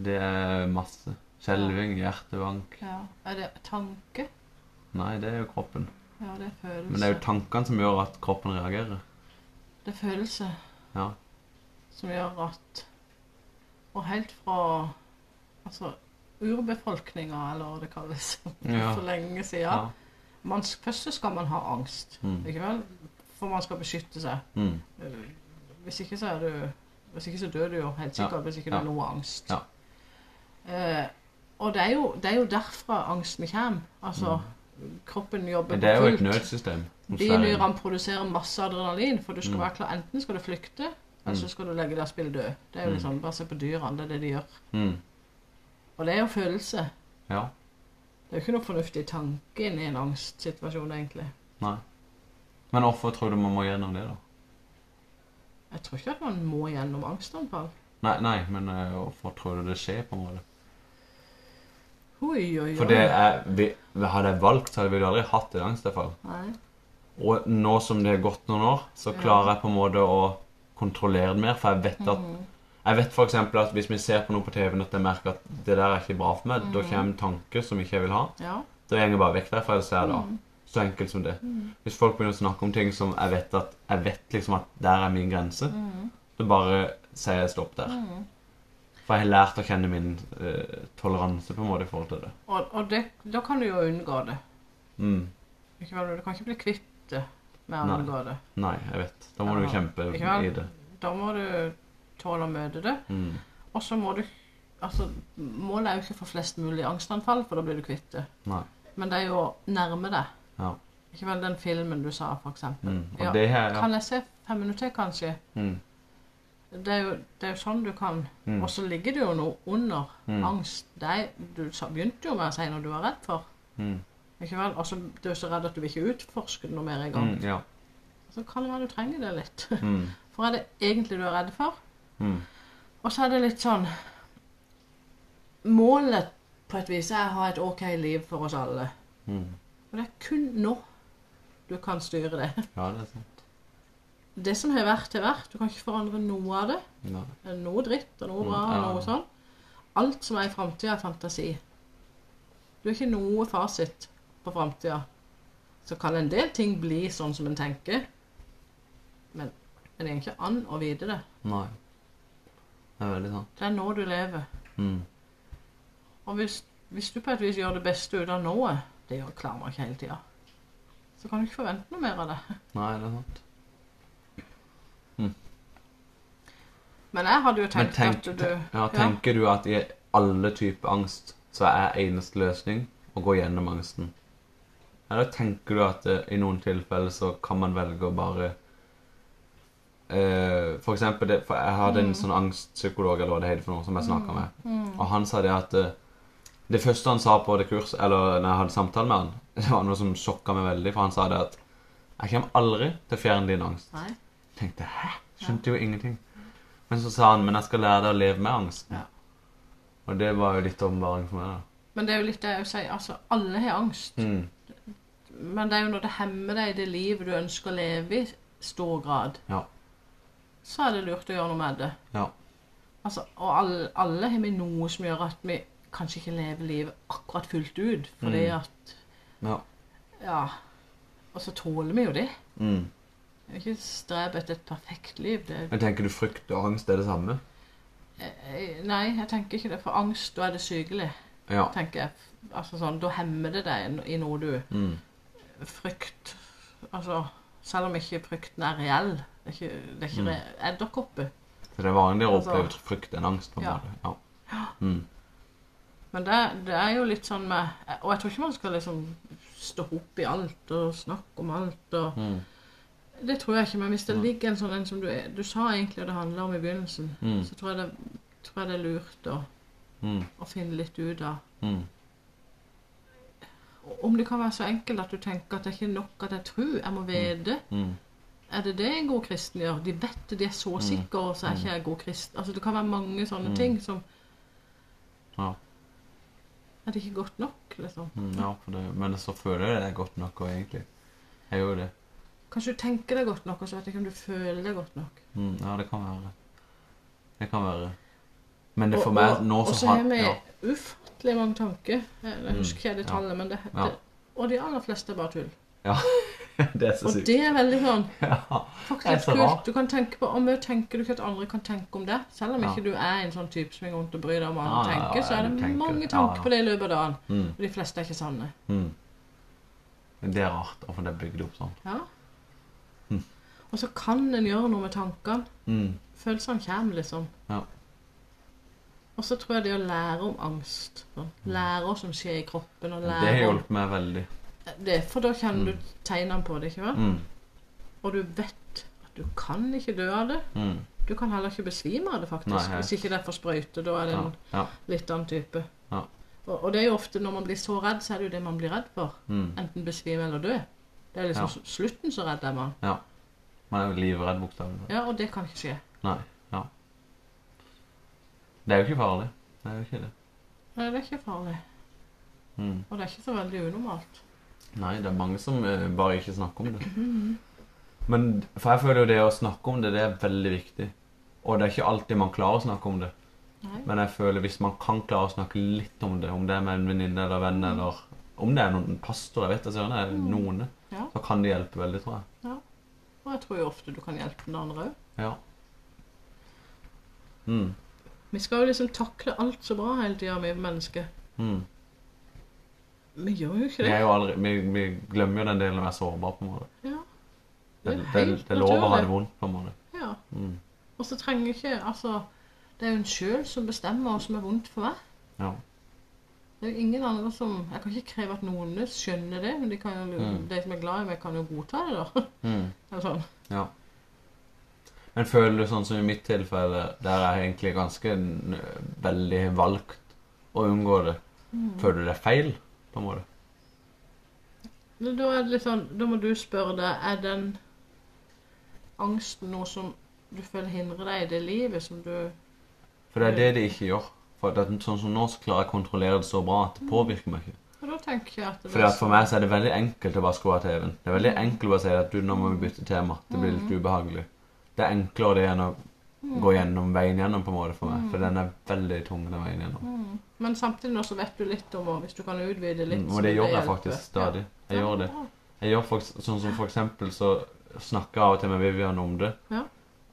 [SPEAKER 1] Det er masse. Skjelving, hjertebank
[SPEAKER 2] Ja. Er det tanke?
[SPEAKER 1] Nei, det er jo kroppen.
[SPEAKER 2] Ja, det er følelse.
[SPEAKER 1] Men det er jo tankene som gjør at kroppen reagerer.
[SPEAKER 2] Det er følelse
[SPEAKER 1] Ja.
[SPEAKER 2] som gjør at Og helt fra altså, urbefolkninga, eller hva det kalles,
[SPEAKER 1] Ja.
[SPEAKER 2] for lenge siden
[SPEAKER 1] ja.
[SPEAKER 2] man, Først så skal man ha angst,
[SPEAKER 1] Mm.
[SPEAKER 2] ikke vel? For man skal beskytte seg.
[SPEAKER 1] Mm.
[SPEAKER 2] Eh, Hvis ikke så er du Hvis ikke så dør du jo helt sikkert hvis ikke du
[SPEAKER 1] Ja.
[SPEAKER 2] har noe angst.
[SPEAKER 1] Ja.
[SPEAKER 2] Eh, og det er, jo, det er jo derfra angsten kommer. Altså, kroppen jobber
[SPEAKER 1] Mm. Men
[SPEAKER 2] på
[SPEAKER 1] det er jo et
[SPEAKER 2] fullt.
[SPEAKER 1] nødsystem. som slår inn.
[SPEAKER 2] Binyrene produserer masse adrenalin, for du skal
[SPEAKER 1] Mm.
[SPEAKER 2] være klar. Enten skal du flykte, eller så skal du legge deg og spille død. Det er jo
[SPEAKER 1] Mm.
[SPEAKER 2] liksom, Bare se på dyrene, det er det de gjør.
[SPEAKER 1] Mm.
[SPEAKER 2] Og det er jo følelse.
[SPEAKER 1] Ja.
[SPEAKER 2] Det er jo ikke noe fornuftig tanke inn i en angstsituasjon, egentlig.
[SPEAKER 1] Nei. Men hvorfor tror du man må gjennom det, da?
[SPEAKER 2] Jeg tror ikke at man må gjennom angstanfall.
[SPEAKER 1] Nei, nei men eh, hvorfor tror du det skjer, på en måte?
[SPEAKER 2] Oi, oi, oi.
[SPEAKER 1] For det er, vi, vi Hadde jeg valgt, så ville jeg aldri hatt et angstavfall.
[SPEAKER 2] Nei.
[SPEAKER 1] Og nå som det har gått noen år, så
[SPEAKER 2] Ja.
[SPEAKER 1] klarer jeg på en måte å kontrollere det mer. For jeg vet at
[SPEAKER 2] Mhm.
[SPEAKER 1] Jeg vet for eksempel at hvis vi ser på noe på TV-en at jeg merker at det der er ikke bra for meg,
[SPEAKER 2] Mhm.
[SPEAKER 1] da kommer tanker som ikke jeg vil ha.
[SPEAKER 2] Ja.
[SPEAKER 1] Da går jeg bare vekk derfra. Ellers er det
[SPEAKER 2] Mhm.
[SPEAKER 1] så enkelt som det. Hvis folk begynner å snakke om ting som jeg vet at jeg vet liksom at der er min grense,
[SPEAKER 2] Mhm.
[SPEAKER 1] så bare sier jeg stopp der.
[SPEAKER 2] Mhm.
[SPEAKER 1] For jeg har lært å kjenne min eh, toleranse på en måte i forhold til det.
[SPEAKER 2] Og, og det, da kan du jo unngå det.
[SPEAKER 1] Mm.
[SPEAKER 2] Ikke vel? Du kan ikke bli kvitt det med å
[SPEAKER 1] Nei.
[SPEAKER 2] unngå det.
[SPEAKER 1] Nei, jeg vet. Da må du
[SPEAKER 2] Ja.
[SPEAKER 1] kjempe
[SPEAKER 2] Ikke sant?
[SPEAKER 1] i det.
[SPEAKER 2] Da må du tåle å møte det.
[SPEAKER 1] Mm.
[SPEAKER 2] Og så må du Altså, målet er jo ikke å få flest mulig angstanfall, for da blir du kvitt det.
[SPEAKER 1] Nei.
[SPEAKER 2] Men det er jo å nærme deg.
[SPEAKER 1] Ja.
[SPEAKER 2] Ikke vel den filmen du sa, for eksempel.
[SPEAKER 1] Mm. Og
[SPEAKER 2] Ja.
[SPEAKER 1] det her, ja.
[SPEAKER 2] Kan jeg se fem minutter til, kanskje?
[SPEAKER 1] Mm.
[SPEAKER 2] Det er jo, det er jo sånn du kan.
[SPEAKER 1] Mm.
[SPEAKER 2] Og så ligger det jo noe under
[SPEAKER 1] Mm.
[SPEAKER 2] angst. Det er, du sa, begynte jo med å si noe du var redd for.
[SPEAKER 1] Mm.
[SPEAKER 2] Ikke vel? Og så du er så redd at du vil ikke utforske det noe mer engang.
[SPEAKER 1] Mm. Ja.
[SPEAKER 2] Så kan det være du trenger det litt.
[SPEAKER 1] Mm.
[SPEAKER 2] For er det egentlig du er redd for?
[SPEAKER 1] Mm.
[SPEAKER 2] Og så er det litt sånn Målet på et vis er å ha et OK liv for oss alle.
[SPEAKER 1] Mm.
[SPEAKER 2] Og det er kun nå du kan styre det.
[SPEAKER 1] Ja, det er sant.
[SPEAKER 2] Det som har vært, har vært. Du kan ikke forandre noe av det.
[SPEAKER 1] Ja.
[SPEAKER 2] Noe dritt og noe bra
[SPEAKER 1] Mm, ja.
[SPEAKER 2] og noe sånn. Alt som er i framtida, er fantasi. Du har ikke noe fasit på framtida. Så kan en del ting bli sånn som en tenker, men men det er ikke an å vite det.
[SPEAKER 1] Nei. Det er veldig sant.
[SPEAKER 2] Det er nå du lever.
[SPEAKER 1] Mm.
[SPEAKER 2] Og hvis, hvis du på et vis gjør det beste ut av noe, det gjør- klarer man ikke hele tida, så kan du ikke forvente noe mer av det.
[SPEAKER 1] Nei, det er sant.
[SPEAKER 2] Men jeg hadde jo
[SPEAKER 1] Men
[SPEAKER 2] tenkt
[SPEAKER 1] tenk,
[SPEAKER 2] at du
[SPEAKER 1] ja, tenker du at i alle typer angst så er eneste løsning å gå gjennom angsten? Eller tenker du at eh, i noen tilfeller så kan man velge å bare eh, For eksempel det, for jeg hadde en
[SPEAKER 2] Mm.
[SPEAKER 1] sånn angstpsykolog eller hva det heter for noe, som jeg snakka med. Og han sa det at eh, Det første han sa på det kurs, eller når jeg hadde samtale med han, det var noe som sjokka meg veldig, for han sa det at Jeg kommer aldri til å fjerne din angst
[SPEAKER 2] Nei.
[SPEAKER 1] tenkte 'hæ?' Skjønte jo ingenting. Men så sa han 'men jeg skal lære deg å leve med angsten'.
[SPEAKER 2] Ja.
[SPEAKER 1] Og det var jo litt åpenbaring for meg. da.
[SPEAKER 2] Men det er jo litt det jeg også sier. Altså, alle har angst.
[SPEAKER 1] Mm.
[SPEAKER 2] Men det er jo når det hemmer deg i det livet du ønsker å leve i, stor grad,
[SPEAKER 1] Ja.
[SPEAKER 2] så er det lurt å gjøre noe med det.
[SPEAKER 1] ja.
[SPEAKER 2] Altså, og alle, alle har vi noe som gjør at vi kanskje ikke lever livet akkurat fullt ut. Fordi
[SPEAKER 1] Mm.
[SPEAKER 2] at
[SPEAKER 1] ja.
[SPEAKER 2] Ja. Og så tåler vi jo det.
[SPEAKER 1] Mm.
[SPEAKER 2] Vi har ikke streb etter et perfekt liv. Det,
[SPEAKER 1] Men tenker du frykt og angst er det samme?
[SPEAKER 2] eh, nei, jeg tenker ikke det. For angst, da er det sykelig,
[SPEAKER 1] Ja.
[SPEAKER 2] tenker jeg. Altså sånn, Da hemmer det deg i noe du
[SPEAKER 1] Mm.
[SPEAKER 2] frykt Altså, selv om ikke frykten er reell. Det er ikke, det er ikke
[SPEAKER 1] Mm.
[SPEAKER 2] re- edderkopper.
[SPEAKER 1] Så det er vanligere å
[SPEAKER 2] Altså-
[SPEAKER 1] oppleve frykt enn angst? på en
[SPEAKER 2] Ja.
[SPEAKER 1] måte. Ja. Mm.
[SPEAKER 2] Men det, det er jo litt sånn med Og jeg tror ikke man skal liksom stå opp i alt og snakke om alt og
[SPEAKER 1] Mm.
[SPEAKER 2] Det tror jeg ikke, men hvis det ligger en sånn en som du er Du sa egentlig det handla om i begynnelsen,
[SPEAKER 1] Mm.
[SPEAKER 2] så tror jeg det, tror jeg det er lurt å,
[SPEAKER 1] Mm.
[SPEAKER 2] å finne litt ut av
[SPEAKER 1] Mm.
[SPEAKER 2] Om det kan være så enkelt at du tenker at det er ikke nok at jeg tror, jeg må vite.
[SPEAKER 1] Mm.
[SPEAKER 2] Er det det en god kristen gjør? De vet det, de er så sikre, og
[SPEAKER 1] Mm.
[SPEAKER 2] så er ikke jeg god kristen. Altså, det kan være mange sånne ting som
[SPEAKER 1] Ja.
[SPEAKER 2] Er det ikke godt nok, liksom?
[SPEAKER 1] Mm. ja for det. Men så føler jeg det er godt nok òg, egentlig. Jeg gjør jo det.
[SPEAKER 2] Kanskje du tenker deg godt nok, og så vet jeg ikke om du føler deg godt nok.
[SPEAKER 1] Mm. Ja, det kan være. Det kan være. Men det for
[SPEAKER 2] Og-
[SPEAKER 1] meg
[SPEAKER 2] og-
[SPEAKER 1] nå
[SPEAKER 2] Og
[SPEAKER 1] så
[SPEAKER 2] så
[SPEAKER 1] har-
[SPEAKER 2] har vi
[SPEAKER 1] ja. Mm,
[SPEAKER 2] ufattelig mange tanker. Jeg, jeg husker ikke det
[SPEAKER 1] ja.
[SPEAKER 2] tallet, men det,
[SPEAKER 1] Ja.
[SPEAKER 2] det Og de aller fleste er bare tull.
[SPEAKER 1] Det er så
[SPEAKER 2] Og
[SPEAKER 1] sykt.
[SPEAKER 2] det er veldig sånn
[SPEAKER 1] Ja. Det
[SPEAKER 2] faktisk
[SPEAKER 1] er
[SPEAKER 2] litt
[SPEAKER 1] så
[SPEAKER 2] kult.
[SPEAKER 1] rart.
[SPEAKER 2] Du kan tenke på Og mye tenker du ikke at andre kan tenke om det. Selv om
[SPEAKER 1] Ja.
[SPEAKER 2] ikke du er en sånn type som går rundt og bryr deg om hva
[SPEAKER 1] Ja,
[SPEAKER 2] andre
[SPEAKER 1] ja, ja,
[SPEAKER 2] tenker, så
[SPEAKER 1] ja,
[SPEAKER 2] er
[SPEAKER 1] du
[SPEAKER 2] det
[SPEAKER 1] tenker-
[SPEAKER 2] mange
[SPEAKER 1] ja,
[SPEAKER 2] tanker
[SPEAKER 1] ja.
[SPEAKER 2] på det i løpet av dagen.
[SPEAKER 1] Mm.
[SPEAKER 2] Og de fleste er ikke sanne.
[SPEAKER 1] Mm. Men det er rart hvorfor det er bygd opp sånn.
[SPEAKER 2] Ja. Og så kan en gjøre noe med tankene.
[SPEAKER 1] Mm.
[SPEAKER 2] Følelsene kommer, liksom.
[SPEAKER 1] Ja.
[SPEAKER 2] Og så tror jeg det å lære om angst sånn. Lære hva som skjer i kroppen, og
[SPEAKER 1] Mm. Det har
[SPEAKER 2] lære om
[SPEAKER 1] hjulpet meg veldig.
[SPEAKER 2] det, for da kjenner du tegnene på det, ikke sant?
[SPEAKER 1] Mm.
[SPEAKER 2] Og du vet at du kan ikke dø av det.
[SPEAKER 1] Mm.
[SPEAKER 2] Du kan heller ikke besvime av det, faktisk.
[SPEAKER 1] Nei, hei.
[SPEAKER 2] hvis ikke det er for sprøyte, da er det
[SPEAKER 1] Ja.
[SPEAKER 2] en
[SPEAKER 1] ja.
[SPEAKER 2] litt annen type.
[SPEAKER 1] Ja.
[SPEAKER 2] Og, og det er jo ofte når man blir så redd, så er det jo det man blir redd for.
[SPEAKER 1] Mm.
[SPEAKER 2] Enten besvime eller dø. Det er
[SPEAKER 1] Ja.
[SPEAKER 2] liksom s- slutten så redd er man.
[SPEAKER 1] ja. Man er jo livredd, bokstavelig talt.
[SPEAKER 2] Ja, og det kan ikke skje.
[SPEAKER 1] Nei. Ja. Det er jo ikke farlig. Det er jo ikke det.
[SPEAKER 2] Nei, det er ikke farlig.
[SPEAKER 1] Mm.
[SPEAKER 2] Og det er ikke så veldig unormalt.
[SPEAKER 1] Nei, det er mange som eh, bare ikke snakker om det. Men for jeg føler jo det å snakke om det, det er veldig viktig. Og det er ikke alltid man klarer å snakke om det.
[SPEAKER 2] Nei.
[SPEAKER 1] Men jeg føler hvis man kan klare å snakke litt om det, om det er med en venninne eller venn,
[SPEAKER 2] Mm.
[SPEAKER 1] eller om det er noen en pastor, jeg vet ikke, det er noen,
[SPEAKER 2] Ja.
[SPEAKER 1] så kan det hjelpe veldig, tror jeg.
[SPEAKER 2] Og jeg tror jo ofte du kan hjelpe den andre òg.
[SPEAKER 1] Ja. Mm.
[SPEAKER 2] Vi skal jo liksom takle alt så bra hele tida, vi mennesker.
[SPEAKER 1] Mm.
[SPEAKER 2] Vi gjør jo ikke
[SPEAKER 1] Vi,
[SPEAKER 2] det.
[SPEAKER 1] er jo aldri, vi, vi glemmer jo den delen vi er sårbare, på en måte.
[SPEAKER 2] Ja.
[SPEAKER 1] Det,
[SPEAKER 2] Det er
[SPEAKER 1] det,
[SPEAKER 2] helt
[SPEAKER 1] det er lov å ha
[SPEAKER 2] naturlig.
[SPEAKER 1] det vondt, på en måte.
[SPEAKER 2] ja.
[SPEAKER 1] Mm.
[SPEAKER 2] Og så trenger ikke Altså, det er jo en sjøl som bestemmer hva som er vondt for meg.
[SPEAKER 1] Ja.
[SPEAKER 2] Det er jo ingen andre som Jeg kan ikke kreve at noen skjønner det, men de, kan jo,
[SPEAKER 1] Mm.
[SPEAKER 2] de som er glad i meg, kan jo godta det, da.
[SPEAKER 1] Mm.
[SPEAKER 2] Eller sånn.
[SPEAKER 1] Ja. Men føler du sånn som i mitt tilfelle, der jeg egentlig ganske n- veldig har valgt å unngå det,
[SPEAKER 2] Mm.
[SPEAKER 1] føler du det er feil, på en måte?
[SPEAKER 2] Men da er det litt sånn Da må du spørre deg Er den angsten noe som du føler hindrer deg i det livet som du
[SPEAKER 1] For det er det de ikke gjør. For det, er sånn som nå så klarer jeg å kontrollere det så bra at det påvirker meg ikke.
[SPEAKER 2] Og da tenker jeg at det
[SPEAKER 1] Fordi at For meg så er det veldig enkelt å bare skru av TV-en. Det er veldig enkelt å bare si at du, nå må vi bytte tema. Det blir
[SPEAKER 2] Mm.
[SPEAKER 1] litt ubehagelig. Det er enklere det enn å gå gjennom veien gjennom, på en måte, for meg.
[SPEAKER 2] Mm.
[SPEAKER 1] For den er veldig tung, den veien gjennom.
[SPEAKER 2] Men samtidig nå så vet du litt om å Hvis du kan utvide litt
[SPEAKER 1] Mm,
[SPEAKER 2] så
[SPEAKER 1] Og det
[SPEAKER 2] vil
[SPEAKER 1] gjør jeg
[SPEAKER 2] hjelpe.
[SPEAKER 1] faktisk stadig.
[SPEAKER 2] Ja.
[SPEAKER 1] Jeg gjør det. Jeg gjør faktisk, sånn som for eksempel så snakker jeg av og til med Vivian om det.
[SPEAKER 2] Ja.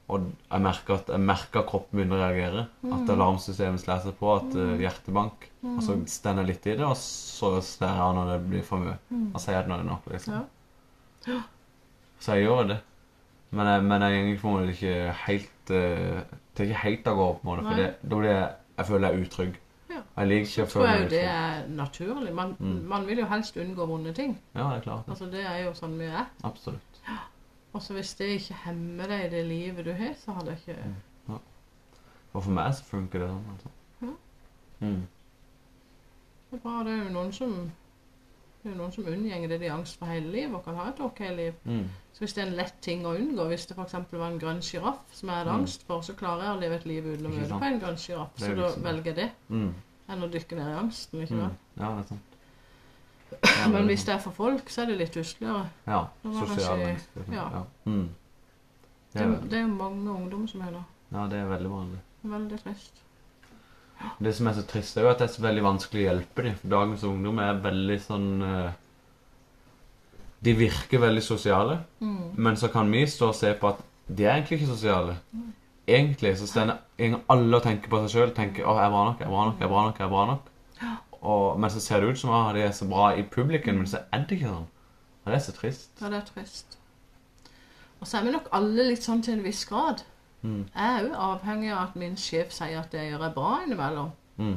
[SPEAKER 1] Og jeg merker at jeg merker at kroppen begynner å reagere.
[SPEAKER 2] Mm.
[SPEAKER 1] At alarmsystemet slår seg på, at eh, hjertebank. Og så stender jeg litt i det, og så ser jeg når det blir for mye. Og sier at nå er det nok, liksom.
[SPEAKER 2] Mm. Ja.
[SPEAKER 1] Så jeg gjør det. Men jeg, men jeg er egentlig på en måte ikke helt eh, Det er ikke helt av gårde, på en måte.
[SPEAKER 2] Nei.
[SPEAKER 1] For det, da blir jeg, jeg føler jeg er utrygg.
[SPEAKER 2] Ja.
[SPEAKER 1] Og Jeg liker ikke å
[SPEAKER 2] tror
[SPEAKER 1] føle
[SPEAKER 2] jeg jo
[SPEAKER 1] meg
[SPEAKER 2] det
[SPEAKER 1] utrygg.
[SPEAKER 2] er naturlig. Man,
[SPEAKER 1] Mm.
[SPEAKER 2] man vil jo helst unngå vonde ting.
[SPEAKER 1] Ja, det er klart.
[SPEAKER 2] Altså Det er jo sånn vi er.
[SPEAKER 1] Absolutt.
[SPEAKER 2] Og så hvis det ikke hemmer deg i det livet du har, så har det
[SPEAKER 1] Mm.
[SPEAKER 2] ikke
[SPEAKER 1] Og for meg så funker det sånn. altså. Mm.
[SPEAKER 2] Det er bra. Det er jo noen som det er jo noen som unngår det de har angst for hele livet, og kan ha et ok liv.
[SPEAKER 1] Mm.
[SPEAKER 2] Så hvis det er en lett ting å unngå, hvis det f.eks. var en grønn sjiraff som jeg hadde angst for, så klarer jeg å leve et liv uten å
[SPEAKER 1] Mm. Ikke
[SPEAKER 2] møte
[SPEAKER 1] sant?
[SPEAKER 2] på en grønn sjiraff,
[SPEAKER 1] Det
[SPEAKER 2] så
[SPEAKER 1] er
[SPEAKER 2] da
[SPEAKER 1] liksom det.
[SPEAKER 2] velger jeg det.
[SPEAKER 1] Mm.
[SPEAKER 2] enn å dykke ned i angsten. ikke
[SPEAKER 1] Mm.
[SPEAKER 2] sant?
[SPEAKER 1] Ja, det er sant.
[SPEAKER 2] Men hvis det er for folk, så er det litt husligere.
[SPEAKER 1] Ja.
[SPEAKER 2] det var
[SPEAKER 1] Sosial
[SPEAKER 2] kanskje-
[SPEAKER 1] angst. liksom.
[SPEAKER 2] ja.
[SPEAKER 1] Ja. Mm. Det,
[SPEAKER 2] Det,
[SPEAKER 1] er,
[SPEAKER 2] er- det er jo mange ungdom som er det.
[SPEAKER 1] ve- ja, det er veldig vanlig.
[SPEAKER 2] Veldig trist.
[SPEAKER 1] Det som er så trist, er jo at det er så veldig vanskelig å hjelpe dem. For dagens ungdom er veldig sånn eh, De virker veldig sosiale,
[SPEAKER 2] Mm.
[SPEAKER 1] men så kan vi stå og se på at de er egentlig ikke sosiale. Egentlig så stender egentlig alle og tenker på seg sjøl. Tenker 'Å, jeg er bra nok, jeg er bra nok, jeg er bra nok'. jeg er bra nok. Og, men så ser det ut som at de er så bra i publikum, men så er det ikke sånn. Og det er så trist.
[SPEAKER 2] Ja, det er trist. Og så er vi nok alle litt sånn til en viss grad.
[SPEAKER 1] Mm.
[SPEAKER 2] Jeg er jo avhengig av at min sjef sier at det jeg gjør er bra innimellom.
[SPEAKER 1] Mm.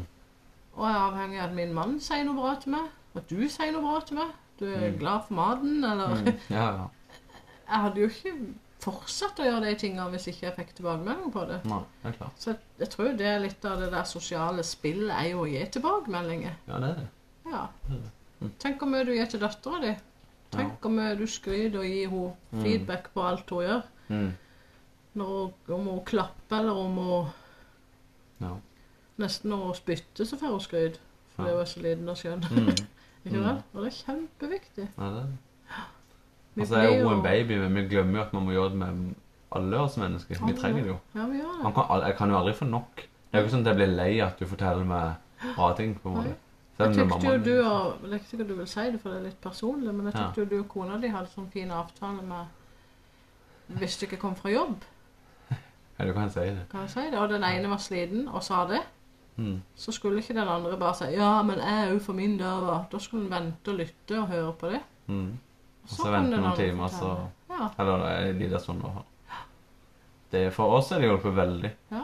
[SPEAKER 2] Og jeg er avhengig av at min mann sier noe bra til meg. Og at du sier noe bra til meg. Du er glad for maten, eller
[SPEAKER 1] Mm. Ja, ja.
[SPEAKER 2] Jeg hadde jo ikke fortsatt å gjøre de tingene hvis ikke jeg fikk tilbakemelding på det.
[SPEAKER 1] Nei, det er klart.
[SPEAKER 2] Så jeg, jeg tror det er litt av det der sosiale spillet er jo å gi tilbakemeldinger.
[SPEAKER 1] Ja, det er det.
[SPEAKER 2] Ja.
[SPEAKER 1] Mm.
[SPEAKER 2] Tenk hvor mye du gir til dattera di. Tenk hvor mye du skryter og gir henne feedback på alt hun gjør.
[SPEAKER 1] Mm.
[SPEAKER 2] Når hun, om hun klapper eller om hun
[SPEAKER 1] Ja.
[SPEAKER 2] Nesten når hun spytter, så får hun skryt. Fordi
[SPEAKER 1] Ja.
[SPEAKER 2] hun er så liten og skjønn.
[SPEAKER 1] Mm.
[SPEAKER 2] Ikke sant? Og det er kjempeviktig.
[SPEAKER 1] Ja, det er det.
[SPEAKER 2] Vi
[SPEAKER 1] Altså, jeg er
[SPEAKER 2] blir
[SPEAKER 1] jo en baby, men vi glemmer jo at man må gjøre det med alle oss mennesker. Vi
[SPEAKER 2] Alle.
[SPEAKER 1] trenger det jo.
[SPEAKER 2] Ja, vi gjør
[SPEAKER 1] Man
[SPEAKER 2] det.
[SPEAKER 1] kan, al- jeg kan jo aldri få nok. Det er jo ikke sånn at jeg blir lei at du forteller meg bra ting. på en måte.
[SPEAKER 2] Jeg
[SPEAKER 1] Selv om det er
[SPEAKER 2] tykte jo
[SPEAKER 1] mammaen
[SPEAKER 2] du
[SPEAKER 1] din.
[SPEAKER 2] og Jeg vet ikke om du vil si det, for det er litt personlig, men jeg
[SPEAKER 1] Ja.
[SPEAKER 2] tykte jo du og kona di hadde sånn fin avtale med Hvis du ikke kom fra jobb,
[SPEAKER 1] Ja, du kan si det.
[SPEAKER 2] kan jeg si det. Og den ene var sliten og sa det.
[SPEAKER 1] Mm.
[SPEAKER 2] Så skulle ikke den andre bare si 'ja, men jeg er jo for min dør', da. Da skulle en vente og lytte og høre på det.
[SPEAKER 1] Mm. Og så
[SPEAKER 2] kom
[SPEAKER 1] vente
[SPEAKER 2] den
[SPEAKER 1] noen
[SPEAKER 2] andre
[SPEAKER 1] timer, så
[SPEAKER 2] fortelle. Ja.
[SPEAKER 1] Eller eh, en liten stund. da. Det, for oss er det hjulpet veldig.
[SPEAKER 2] Ja.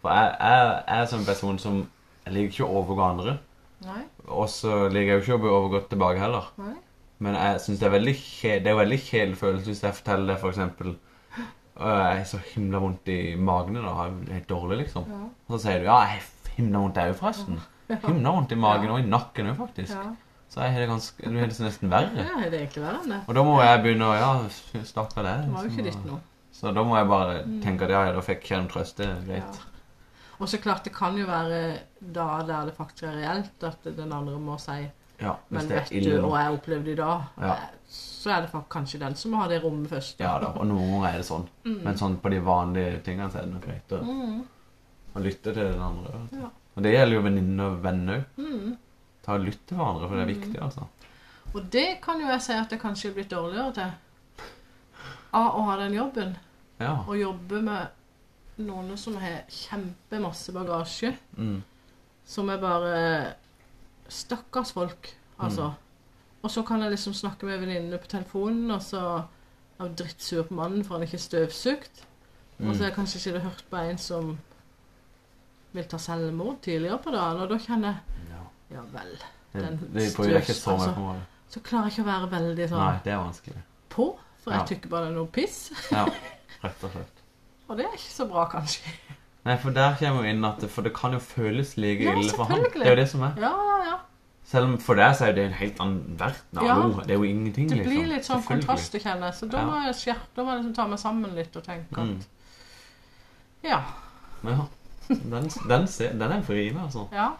[SPEAKER 1] For jeg, jeg, jeg er sånn person som Jeg liker ikke å overgå andre.
[SPEAKER 2] Nei.
[SPEAKER 1] Og så liker jeg jo ikke å bli overgått tilbake heller.
[SPEAKER 2] Nei.
[SPEAKER 1] Men jeg synes det er veldig kje- det er jo veldig kjedelig følelse hvis jeg forteller deg for eksempel «Øh, Jeg har så himla vondt i magen i dag. Jeg er helt dårlig, liksom.
[SPEAKER 2] Ja.
[SPEAKER 1] Og så sier du ja, jeg har himla vondt jeg òg, forresten. Himla vondt i magen og i nakken òg, faktisk.
[SPEAKER 2] Ja.
[SPEAKER 1] Så jeg har det ganske Du har det nesten verre.
[SPEAKER 2] ja, det er egentlig verre enn det.
[SPEAKER 1] Og da må jeg begynne å Ja, stakkar deg.
[SPEAKER 2] Det var jo ikke ditt
[SPEAKER 1] liksom, og-
[SPEAKER 2] nå.
[SPEAKER 1] Så da må jeg bare
[SPEAKER 2] Mm.
[SPEAKER 1] tenke at ja, ja, da fikk jeg en trøst. Det er greit.
[SPEAKER 2] Og så klart, det kan jo være da der det faktisk er reelt, at den andre må si
[SPEAKER 1] Ja, hvis
[SPEAKER 2] Men
[SPEAKER 1] det er
[SPEAKER 2] vet du
[SPEAKER 1] ille.
[SPEAKER 2] hva
[SPEAKER 1] nå.
[SPEAKER 2] jeg opplevde i dag?
[SPEAKER 1] Ja.
[SPEAKER 2] Eh, Så er det faktisk kanskje den som må ha det rommet først.
[SPEAKER 1] Ja da. Og noen ganger er det sånn. Men sånn på de vanlige tingene så er det nok greit å,
[SPEAKER 2] Mm.
[SPEAKER 1] å lytte til den andre.
[SPEAKER 2] Ja.
[SPEAKER 1] Og det gjelder jo venninner og venner òg.
[SPEAKER 2] Mm.
[SPEAKER 1] Ta og lytte til hverandre, for det er viktig, altså.
[SPEAKER 2] Og det kan jo jeg si at jeg kanskje er blitt dårligere til. Av å ha den jobben.
[SPEAKER 1] Ja.
[SPEAKER 2] Å jobbe med noen som har kjempemasse bagasje.
[SPEAKER 1] Mm.
[SPEAKER 2] Som er bare Stakkars folk, altså.
[SPEAKER 1] Mm.
[SPEAKER 2] Og så kan jeg liksom snakke med venninnene på telefonen, og så er jeg drittsur på mannen for han ikke er støvsugd. Og
[SPEAKER 1] Mm.
[SPEAKER 2] så har jeg kanskje ikke hørt på en som vil ta selvmord tidligere på dagen, og da kjenner jeg
[SPEAKER 1] ja.
[SPEAKER 2] Ja vel.
[SPEAKER 1] Det,
[SPEAKER 2] Den altså.
[SPEAKER 1] det bryr jeg ikke så mye
[SPEAKER 2] støvs,
[SPEAKER 1] på. en måte.
[SPEAKER 2] Så klarer jeg ikke å være veldig sånn
[SPEAKER 1] Nei, det er vanskelig.
[SPEAKER 2] på, for jeg
[SPEAKER 1] Ja.
[SPEAKER 2] tykker bare det er noe piss.
[SPEAKER 1] Ja, rett og slett.
[SPEAKER 2] Og det er ikke så bra, kanskje.
[SPEAKER 1] Nei, for der kommer jo inn at det- For det kan jo føles like
[SPEAKER 2] Ja,
[SPEAKER 1] ille for han.
[SPEAKER 2] selvfølgelig.
[SPEAKER 1] Det er jo det som er.
[SPEAKER 2] Ja, ja, ja.
[SPEAKER 1] Selv om for deg så er det en helt annen verden.
[SPEAKER 2] Ja.
[SPEAKER 1] Hallo, det er jo ingenting,
[SPEAKER 2] Det
[SPEAKER 1] liksom.
[SPEAKER 2] blir litt sånn
[SPEAKER 1] Selvfølgelig.
[SPEAKER 2] kontrast, jeg kjenner jeg. Så da
[SPEAKER 1] Ja.
[SPEAKER 2] må jeg skjer- da må jeg liksom ta meg sammen litt og tenke
[SPEAKER 1] Mm.
[SPEAKER 2] at Ja.
[SPEAKER 1] Ja. Den, den, ser, den er vrien, altså.
[SPEAKER 2] Ja.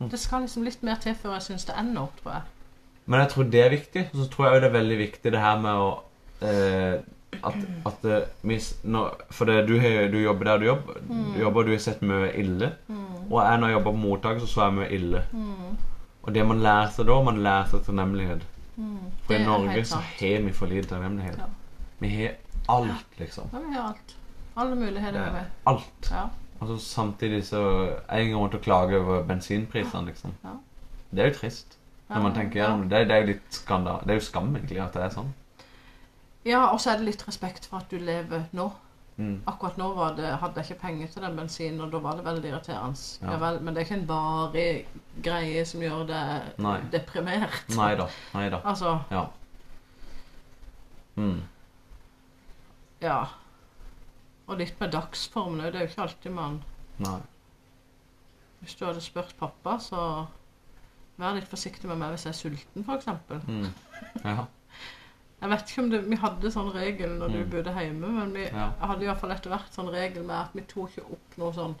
[SPEAKER 1] Mm.
[SPEAKER 2] Det skal liksom litt mer til før jeg syns det ender opp, tror jeg.
[SPEAKER 1] Men jeg tror det er viktig. Og så tror jeg også det er veldig viktig det her med å eh, At, at eh, hvis når, For det, du, har- du jobber der du jobber,
[SPEAKER 2] Mm.
[SPEAKER 1] du jobber, og du har sett mye ille. Og jeg når jeg jobber på mottak, så så jeg mye ille.
[SPEAKER 2] Mm.
[SPEAKER 1] Og det man lærer seg da, man lærer seg takknemlighet. For
[SPEAKER 2] Mm. Det
[SPEAKER 1] i
[SPEAKER 2] er
[SPEAKER 1] Norge
[SPEAKER 2] helt
[SPEAKER 1] så
[SPEAKER 2] sant.
[SPEAKER 1] har vi for lite takknemlighet.
[SPEAKER 2] Ja.
[SPEAKER 1] Vi har alt, liksom.
[SPEAKER 2] Ja, vi har alt. Alle muligheter
[SPEAKER 1] Det
[SPEAKER 2] er
[SPEAKER 1] er
[SPEAKER 2] med.
[SPEAKER 1] alt.
[SPEAKER 2] Ja.
[SPEAKER 1] Og så Altså, samtidig så Jeg går rundt og klager over bensinprisene, liksom.
[SPEAKER 2] Ja.
[SPEAKER 1] Det er jo trist. Når man tenker gjennom det. Det er jo litt skanda... Det er jo skam, egentlig, at det er sånn.
[SPEAKER 2] Ja, og så er det litt respekt for at du lever nå.
[SPEAKER 1] Mm.
[SPEAKER 2] Akkurat nå var det, hadde jeg ikke penger til den bensinen, og da var det veldig irriterende.
[SPEAKER 1] Ja.
[SPEAKER 2] Ja. vel, men det er ikke en varig greie som gjør deg
[SPEAKER 1] Nei.
[SPEAKER 2] deprimert.
[SPEAKER 1] Nei da. Nei da.
[SPEAKER 2] Altså,
[SPEAKER 1] Ja. Mm.
[SPEAKER 2] ja. Og litt med dagsformen òg. Det er jo ikke alltid man
[SPEAKER 1] Nei.
[SPEAKER 2] Hvis du hadde spurt pappa, så Vær litt forsiktig med meg hvis jeg er sulten, f.eks.
[SPEAKER 1] Mm. Ja.
[SPEAKER 2] Jeg vet ikke om det, Vi hadde sånn regel når du
[SPEAKER 1] Mm.
[SPEAKER 2] bodde hjemme, men vi
[SPEAKER 1] Ja.
[SPEAKER 2] hadde i hvert fall etter hvert sånn regel med at vi tok ikke opp noe sånn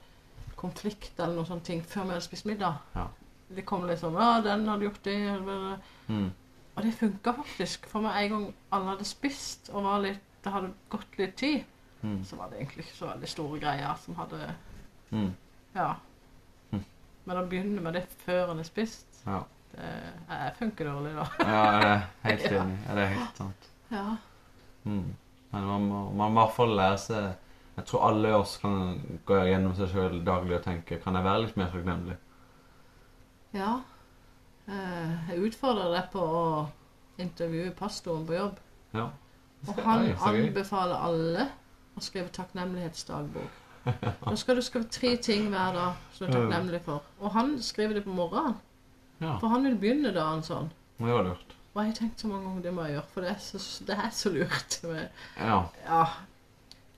[SPEAKER 2] konflikt eller noen sånne ting før vi hadde spist middag.
[SPEAKER 1] Ja.
[SPEAKER 2] Det kom litt sånn 'Å, den hadde gjort det' eller
[SPEAKER 1] Mm.
[SPEAKER 2] Og det funka faktisk. For med en gang alle hadde spist, og var litt, det hadde gått litt tid,
[SPEAKER 1] Mm.
[SPEAKER 2] så var det egentlig ikke så veldig store greier som hadde
[SPEAKER 1] Mm.
[SPEAKER 2] Ja.
[SPEAKER 1] Mm.
[SPEAKER 2] Men å begynne med det før en har spist,
[SPEAKER 1] Ja.
[SPEAKER 2] det jeg funker dårlig, da.
[SPEAKER 1] ja, jeg er helt enig. Ja, det er helt sant.
[SPEAKER 2] Ja.
[SPEAKER 1] Mm. Men man må, man må i hvert fall lære seg Jeg tror alle oss kan gå gjennom seg sjøl daglig og tenke Kan jeg være litt mer takknemlig?
[SPEAKER 2] ja. Eh, Jeg utfordrer deg på å intervjue pastoren på jobb,
[SPEAKER 1] Ja.
[SPEAKER 2] og han
[SPEAKER 1] Oi, så gøy.
[SPEAKER 2] anbefaler alle å skrive takknemlighetsdagbok. Da skal du skrive tre ting hver dag som du er takknemlig for. Og han skriver det på morgenen,
[SPEAKER 1] Ja,
[SPEAKER 2] for han vil begynne dagen sånn.
[SPEAKER 1] det var lurt.
[SPEAKER 2] Og jeg har tenkt så mange ganger det må jeg gjøre, for det er så, det er så lurt. med-
[SPEAKER 1] Ja.
[SPEAKER 2] Ja.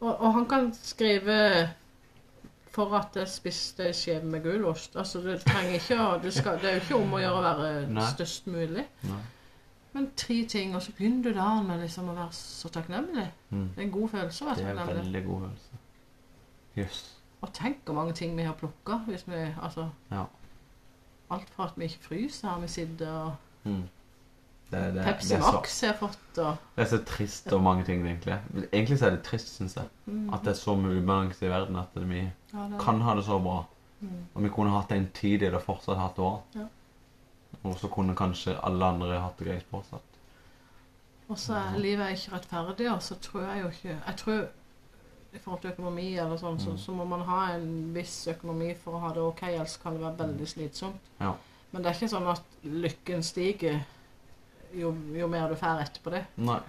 [SPEAKER 2] Og, og han kan skrive for at jeg spiste en skive med gulost. Altså, du trenger ikke å du skal, Det er jo ikke om å gjøre å være
[SPEAKER 1] Nei.
[SPEAKER 2] størst mulig.
[SPEAKER 1] Nei.
[SPEAKER 2] Men tre ting, og så begynner du dagen med liksom å være så takknemlig.
[SPEAKER 1] Mm.
[SPEAKER 2] Det er en god følelse å være
[SPEAKER 1] Det er
[SPEAKER 2] takknemlig.
[SPEAKER 1] veldig god følelse. Jøss.
[SPEAKER 2] Og tenk hvor mange ting vi har plukka. Altså,
[SPEAKER 1] Ja.
[SPEAKER 2] alt fra at vi ikke fryser her vi sitter, og
[SPEAKER 1] Mm. Det, det, det,
[SPEAKER 2] Pepsi
[SPEAKER 1] er så,
[SPEAKER 2] Max jeg har fått, og
[SPEAKER 1] det er så trist og mange ting, egentlig. Egentlig så er det trist, syns jeg.
[SPEAKER 2] mm,
[SPEAKER 1] At det er så mye ubalanse i verden at vi
[SPEAKER 2] ja, det-
[SPEAKER 1] kan ha det så bra.
[SPEAKER 2] Mm.
[SPEAKER 1] Og vi kunne hatt det en tid i det fortsatt hatt det bra.
[SPEAKER 2] Ja.
[SPEAKER 1] Og så kunne kanskje alle andre hatt det greit fortsatt.
[SPEAKER 2] Og så er livet ikke rettferdig, og så tror jeg jo ikke Jeg tror i forhold til økonomi eller sånn, så,
[SPEAKER 1] Mm.
[SPEAKER 2] så må man ha en viss økonomi for å ha det ok, ellers kan det være veldig slitsomt.
[SPEAKER 1] Ja.
[SPEAKER 2] Men det er ikke sånn at lykken stiger jo, jo mer du får etterpå det.
[SPEAKER 1] Nei.